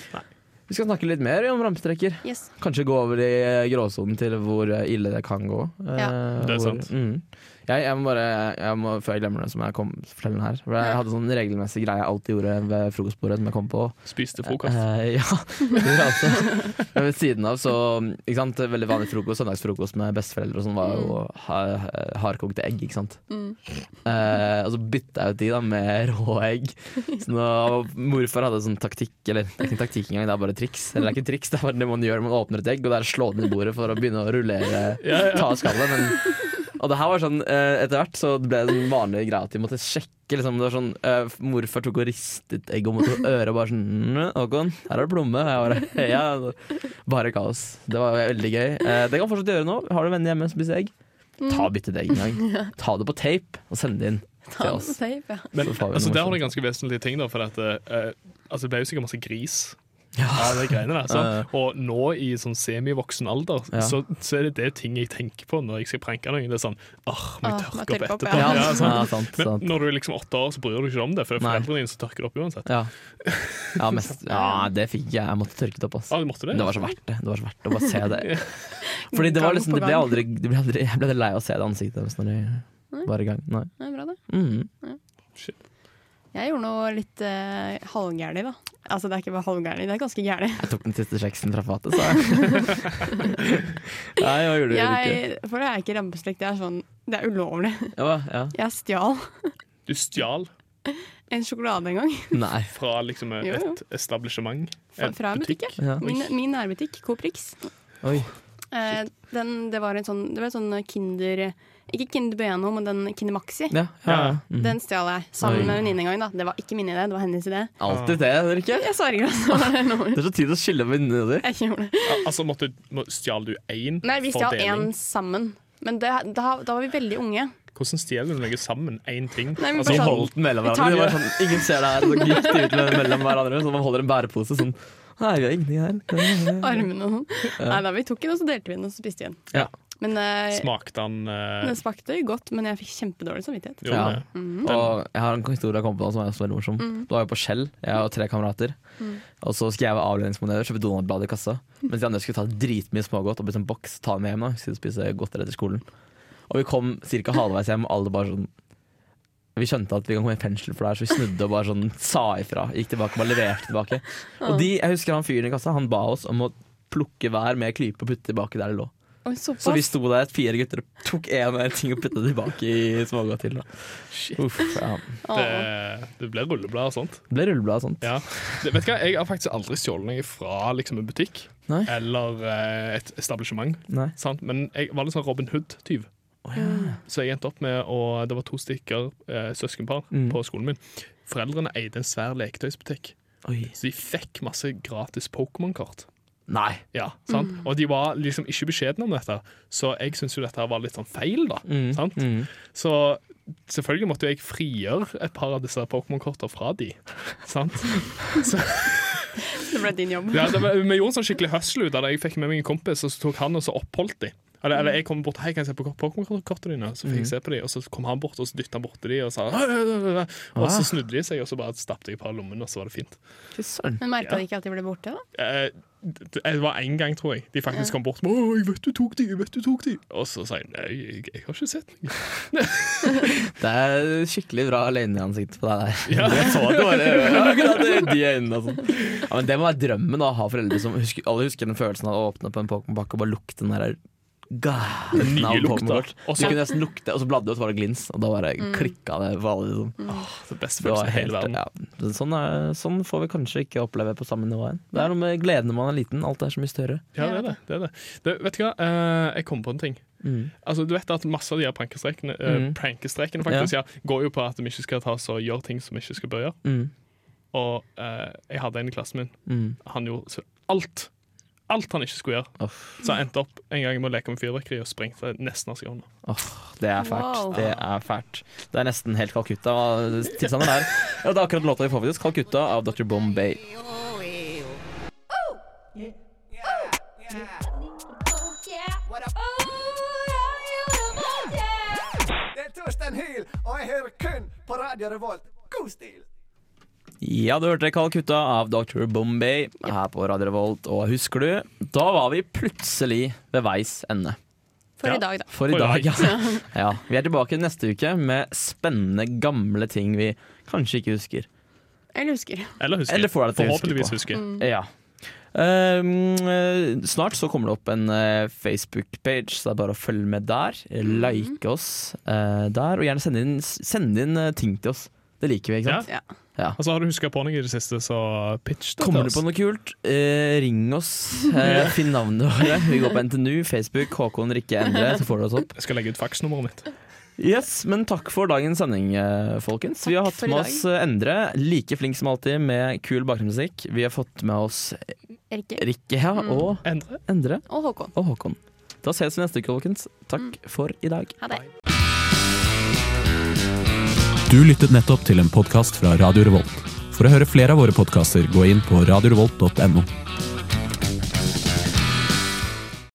[SPEAKER 2] Vi skal snakke litt mer om rampestreker.
[SPEAKER 3] Yes.
[SPEAKER 2] Kanskje gå over i eh, gråsonen til hvor ille det kan gå. Eh,
[SPEAKER 3] Ja.
[SPEAKER 4] Det er
[SPEAKER 2] hvor-
[SPEAKER 4] sant.
[SPEAKER 2] Mm. Jeg, jeg må bare, jeg må, før jeg glemmer det, så må jeg kom, fortelle den her. For jeg hadde sånn regelmessig greie jeg alltid gjorde ved frokostbordet som jeg kom på.
[SPEAKER 4] Spiste frokost.
[SPEAKER 2] Eh, ja, det gjorde jeg altså. Men ved siden av så ikke sant? Veldig vanlig frokost, søndagsfrokost med besteforeldre og sånn, var jo ha, hardkokte egg, ikke sant. Eh, og så bytta jeg ut de da med rå egg. Så nå, morfar hadde sånn taktikk, eller ikke taktikk engang, det er bare triks. Eller det er ikke triks, det er bare det man gjør når man åpner et egg, og det er å slå det i bordet for å begynne å rullere, ta av skallet. Men, og det her var sånn, eh, etter hvert så ble det en vanlig greie at vi måtte sjekke. Liksom, det var sånn, eh, morfar tok og ristet egg og måtte øre og bare sånn «Mm, Håkon, her er det plomme. Og jeg bare, ja, bare kaos. Det var veldig gøy. Eh, det kan du fortsatt gjøre nå. Har du venner hjemme som spiser egg?
[SPEAKER 3] Mm.
[SPEAKER 2] Ta og bytte det egg en gang. Ta det på tape og send det inn
[SPEAKER 3] Ta
[SPEAKER 2] til
[SPEAKER 3] det
[SPEAKER 2] oss.
[SPEAKER 3] på tape, ja.
[SPEAKER 4] Men
[SPEAKER 2] så får vi
[SPEAKER 4] altså,
[SPEAKER 2] noe
[SPEAKER 4] der har du
[SPEAKER 2] morsomt.
[SPEAKER 4] ganske vesentlige ting, da, for at, eh, altså, det ble jo sikkert masse gris. av de greiene der, sant? Og nå i sånn semivoksen alder,
[SPEAKER 2] Ja.
[SPEAKER 4] så, så er det det ting jeg tenker på når jeg skal pranke noen. Det er sånn Åh,
[SPEAKER 3] Ah, må
[SPEAKER 4] må jeg tørke opp
[SPEAKER 3] jeg tørke opp,
[SPEAKER 4] etterpå?
[SPEAKER 3] ja.
[SPEAKER 2] Ja,
[SPEAKER 4] Ja, sant?
[SPEAKER 2] ja, sant, sant.
[SPEAKER 4] Men når du er liksom åtte år, så bryr du deg ikke om det, for det er
[SPEAKER 2] Nei.
[SPEAKER 4] foreldrene dine som tørker det opp uansett.
[SPEAKER 2] Ja. Ja, mest, ja, det fikk jeg. Jeg måtte tørke det opp. Ass.
[SPEAKER 4] Ah, du måtte det?
[SPEAKER 2] Det var så verdt det. det, var så verdt det å bare se det. Fordi det var
[SPEAKER 3] Gang
[SPEAKER 2] liksom,
[SPEAKER 3] på
[SPEAKER 2] det ble
[SPEAKER 3] gang.
[SPEAKER 2] aldri, det ble aldri Jeg ble lei av å se det ansiktet deres når de var i gang. Nei.
[SPEAKER 3] Det er bra, det.
[SPEAKER 2] Mhm.
[SPEAKER 3] Jeg gjorde noe litt uh, halvgærlig, da. Altså, det er ikke bare halvgærlig, det er ganske gærlig.
[SPEAKER 2] Jeg tok den siste kjeksen fra fatet, sa jeg. Nei, hva gjorde du, Rikke?
[SPEAKER 3] Jeg, for det er ikke rampestrek, det er sånn Det er ulovlig.
[SPEAKER 2] Ja, hva? ja.
[SPEAKER 3] Jeg stjal
[SPEAKER 4] Du stjal
[SPEAKER 3] en sjokolade en gang
[SPEAKER 2] Nei.
[SPEAKER 4] fra liksom
[SPEAKER 3] Jo, jo.
[SPEAKER 4] et establishment?
[SPEAKER 3] fra,
[SPEAKER 4] En
[SPEAKER 3] fra en butikk. ja.
[SPEAKER 2] Ja.
[SPEAKER 3] Min, min nærbutikk, Coop Rix.
[SPEAKER 2] Oi.
[SPEAKER 3] Eh, den, det var en sånn, det var en sånn Kinder Ikke Kinder Bueno, men den Kinder Maxi.
[SPEAKER 2] Ja, ja, ja.
[SPEAKER 4] Mm.
[SPEAKER 2] Mhm.
[SPEAKER 3] Den stjal jeg sammen
[SPEAKER 2] Oi.
[SPEAKER 3] med en venninne en gang. da Det var ikke min idé, det var hennes idé.
[SPEAKER 2] Alltid det, Rikke.
[SPEAKER 3] Jeg sverger, altså. det er noe-
[SPEAKER 2] Det er så tid å skille venninnene dine.
[SPEAKER 3] Jeg gjorde det.
[SPEAKER 4] Al- Altså, måtte, må, stjal du én
[SPEAKER 3] Nei, vi
[SPEAKER 4] for
[SPEAKER 3] stjal
[SPEAKER 4] deling?
[SPEAKER 3] én sammen. Men det, da, da var vi veldig unge.
[SPEAKER 4] Hvordan stjal du noe sammen? Én ting?
[SPEAKER 3] Nei, men
[SPEAKER 4] altså,
[SPEAKER 3] bare sånn-
[SPEAKER 4] hold,
[SPEAKER 2] den mellom
[SPEAKER 3] Vi
[SPEAKER 2] hverandre.
[SPEAKER 3] tar
[SPEAKER 2] Det var
[SPEAKER 3] den.
[SPEAKER 2] sånn, ingen ser det her, så gikk de ut med- mellom hverandre. Så man holder en bærepose sånn. Nei, vi har ingenting
[SPEAKER 4] Eh.
[SPEAKER 2] her.
[SPEAKER 3] Armene og sånn. Nei da, vi tok den, og så delte vi den, og så spiste vi den.
[SPEAKER 2] Ja.
[SPEAKER 3] Men eh,
[SPEAKER 4] smakte han eh,
[SPEAKER 3] den smakte godt, men jeg fikk kjempedårlig samvittighet.
[SPEAKER 4] gjorde
[SPEAKER 2] Ja.
[SPEAKER 4] det?
[SPEAKER 2] Og jeg har en historie jeg kom på som er også veldig morsom. Det var jo på Shell, jeg og tre kamerater. Og så skulle jeg være avledningsmanøver, kjøpe Donald-blad i kassa. Mens de andre skulle ta dritmye smågodt og bli en boks, ta med hjem da. Skulle spise godteri etter skolen. Og vi kom ca. halvveis hjem, og alle bare sånn vi skjønte at vi kan komme i pensel for det her, så vi snudde og bare sånn sa ifra. Gikk tilbake og bare leverte tilbake. Og de, jeg husker han fyren i kassa, han ba oss om å plukke hver med klype og putte tilbake der det lå.
[SPEAKER 3] Oi, såpass.
[SPEAKER 2] Så vi sto der, fire gutter, og tok én og én ting og putta det tilbake i smågodt til. da. Uff, ja.
[SPEAKER 3] Åh.
[SPEAKER 4] Det, det ble rulleblad og sånt.
[SPEAKER 2] Det ble rulleblad og sånt.
[SPEAKER 4] Ja. Det, vet du hva, Jeg har faktisk aldri stjålet noe fra liksom, en butikk
[SPEAKER 2] Nei.
[SPEAKER 4] eller eh, et establishment.
[SPEAKER 2] Nei.
[SPEAKER 4] Sant? Men jeg var litt sånn Robin Hood-tyv.
[SPEAKER 2] Mm.
[SPEAKER 4] Så jeg endte opp med å Det var to stykker eh, søskenpar
[SPEAKER 2] Mm.
[SPEAKER 4] på skolen min. Foreldrene eide en svær leketøysbutikk,
[SPEAKER 2] Oi.
[SPEAKER 4] så de fikk masse gratis Pokémon-kort.
[SPEAKER 2] Nei.
[SPEAKER 4] Ja, sant? Og de var liksom ikke beskjedne om dette, så jeg syns jo dette her var litt sånn feil, da.
[SPEAKER 2] Mm.
[SPEAKER 4] Sant?
[SPEAKER 2] Mm.
[SPEAKER 4] Så selvfølgelig måtte jo jeg frigjøre et par av disse Pokémon-kortene fra de. Sant?
[SPEAKER 3] Det ble din jobb.
[SPEAKER 4] Ja, det var, vi gjorde en sånn skikkelig hustle ut av det. Jeg fikk med meg en kompis, og så tok han og så oppholdt de. Eller, eller jeg kom bort Hei, kan jeg se på Pokémon-kortene dine? Så
[SPEAKER 2] Mm.
[SPEAKER 4] fikk jeg se på de, og så kom han bort og så dytta han borti de og sa «Hø, hø, hø, hø». Og
[SPEAKER 2] Ah.
[SPEAKER 4] så snudde de seg, og så bare stappet jeg et par lommene, og så var det fint.
[SPEAKER 2] Fy søren.
[SPEAKER 3] Men merka de ikke at de ble borte, da?
[SPEAKER 4] Eh, det- det var én gang, tror jeg, de faktisk kom bort med «Å, jeg vet du tok de, jeg vet du tok de. Og så sa jeg nei, jeg, jeg har ikke sett noe.
[SPEAKER 2] Det er skikkelig bra alene i ansiktet på deg der. Jeg så det bare, ja, akkurat det, de øynene og sånn. Ja, men det må være drømmen da, å ha foreldre som husker, Alle husker den følelsen av å åpne på en Pokémon-pakke og bare lukte den der
[SPEAKER 4] Den
[SPEAKER 2] gærne
[SPEAKER 4] nye
[SPEAKER 2] av
[SPEAKER 4] lukta.
[SPEAKER 2] Pokémon-kort.
[SPEAKER 4] Og
[SPEAKER 2] Du
[SPEAKER 4] så-
[SPEAKER 2] kunne nesten lukte, og så bladde du, og så var det glins, og da bare klikka det for alle. Liksom.
[SPEAKER 4] Ah, Det beste
[SPEAKER 2] Det
[SPEAKER 4] Mm. følelsen
[SPEAKER 2] var
[SPEAKER 4] i hele verden.
[SPEAKER 2] helt, ja. sånn, er, sånn får vi kanskje ikke oppleve på samme nivå igjen. Det er noe med gleden når man er liten, alt er så mye større.
[SPEAKER 4] Ja, det er det. det, er det. det vet du hva, Eh, jeg kom på en ting. Altså, du vet at Masse av de her prankestrekene, eh,
[SPEAKER 2] Mm.
[SPEAKER 4] prankestrekene faktisk, ja. går jo på at vi ikke skal ta oss og gjøre ting som vi ikke skal bør gjøre.
[SPEAKER 2] Mm.
[SPEAKER 4] Og eh, jeg hadde en i klassen min.
[SPEAKER 2] Mm.
[SPEAKER 4] Han gjorde så alt Alt han ikke skulle gjøre.
[SPEAKER 2] Uff.
[SPEAKER 4] Så han endte opp en gang med å leke med fyrverkeri og sprengte nesten av seg hånda.
[SPEAKER 2] Åh, det er fælt.
[SPEAKER 3] Wow.
[SPEAKER 2] Det er fælt. Det er nesten helt Calcutta. hva Tilstanden er der. Ja, det er akkurat låta vi får faktisk. Calcutta av Dr. Bombay.
[SPEAKER 9] Yeah. What up? hører kun på Radio Revolt. God stil!
[SPEAKER 2] Ja, du hørte Calcutta av Dr. Bombay her på Radio Revolt. Og husker du, da var vi plutselig ved veis ende.
[SPEAKER 3] For
[SPEAKER 4] Ja.
[SPEAKER 3] i dag, da.
[SPEAKER 2] For i
[SPEAKER 4] For i
[SPEAKER 2] dag, ja. ja. Vi er tilbake neste uke med spennende, gamle ting vi kanskje ikke husker.
[SPEAKER 3] Eller husker.
[SPEAKER 4] Eller husker.
[SPEAKER 2] Eller får deg til å huske
[SPEAKER 4] Forhåpentligvis
[SPEAKER 2] på.
[SPEAKER 4] husker.
[SPEAKER 2] Ja. Ehm, eh, snart så kommer det opp en eh, Facebook-page, så det er bare å følge med der. Like oss eh, der, og gjerne sende inn, send inn eh, ting til oss. Det liker vi, ikke sant?
[SPEAKER 4] Ja.
[SPEAKER 3] Ja.
[SPEAKER 4] Altså, har du huska på noe i det siste, så pitch det
[SPEAKER 2] Kommer du
[SPEAKER 4] til oss.
[SPEAKER 2] på noe kult, eh, ring oss. Eh, finn navnet vårt. Vi går på NTNU, Facebook, Håkon Rikke Endre, så får du oss opp.
[SPEAKER 4] Jeg skal legge ut faksnummeret mitt.
[SPEAKER 2] Yes, men takk for dagens sending, eh, folkens. vi har
[SPEAKER 3] Takk
[SPEAKER 2] hatt
[SPEAKER 3] for i
[SPEAKER 2] med
[SPEAKER 3] dag.
[SPEAKER 2] oss eh, Endre, like flink som alltid, med kul bakgrunnsmusikk. Vi har fått med oss
[SPEAKER 3] Rikke
[SPEAKER 2] Rikke ja, og
[SPEAKER 4] Endre?
[SPEAKER 2] Endre.
[SPEAKER 3] og Håkon.
[SPEAKER 2] og Håkon. Da ses vi neste uke, folkens. Takk for i dag.
[SPEAKER 3] Ha det.
[SPEAKER 10] Du lyttet nettopp til en podkast fra Radio Revolt. For å høre flere av våre podkaster, gå inn på radiorevolt.no.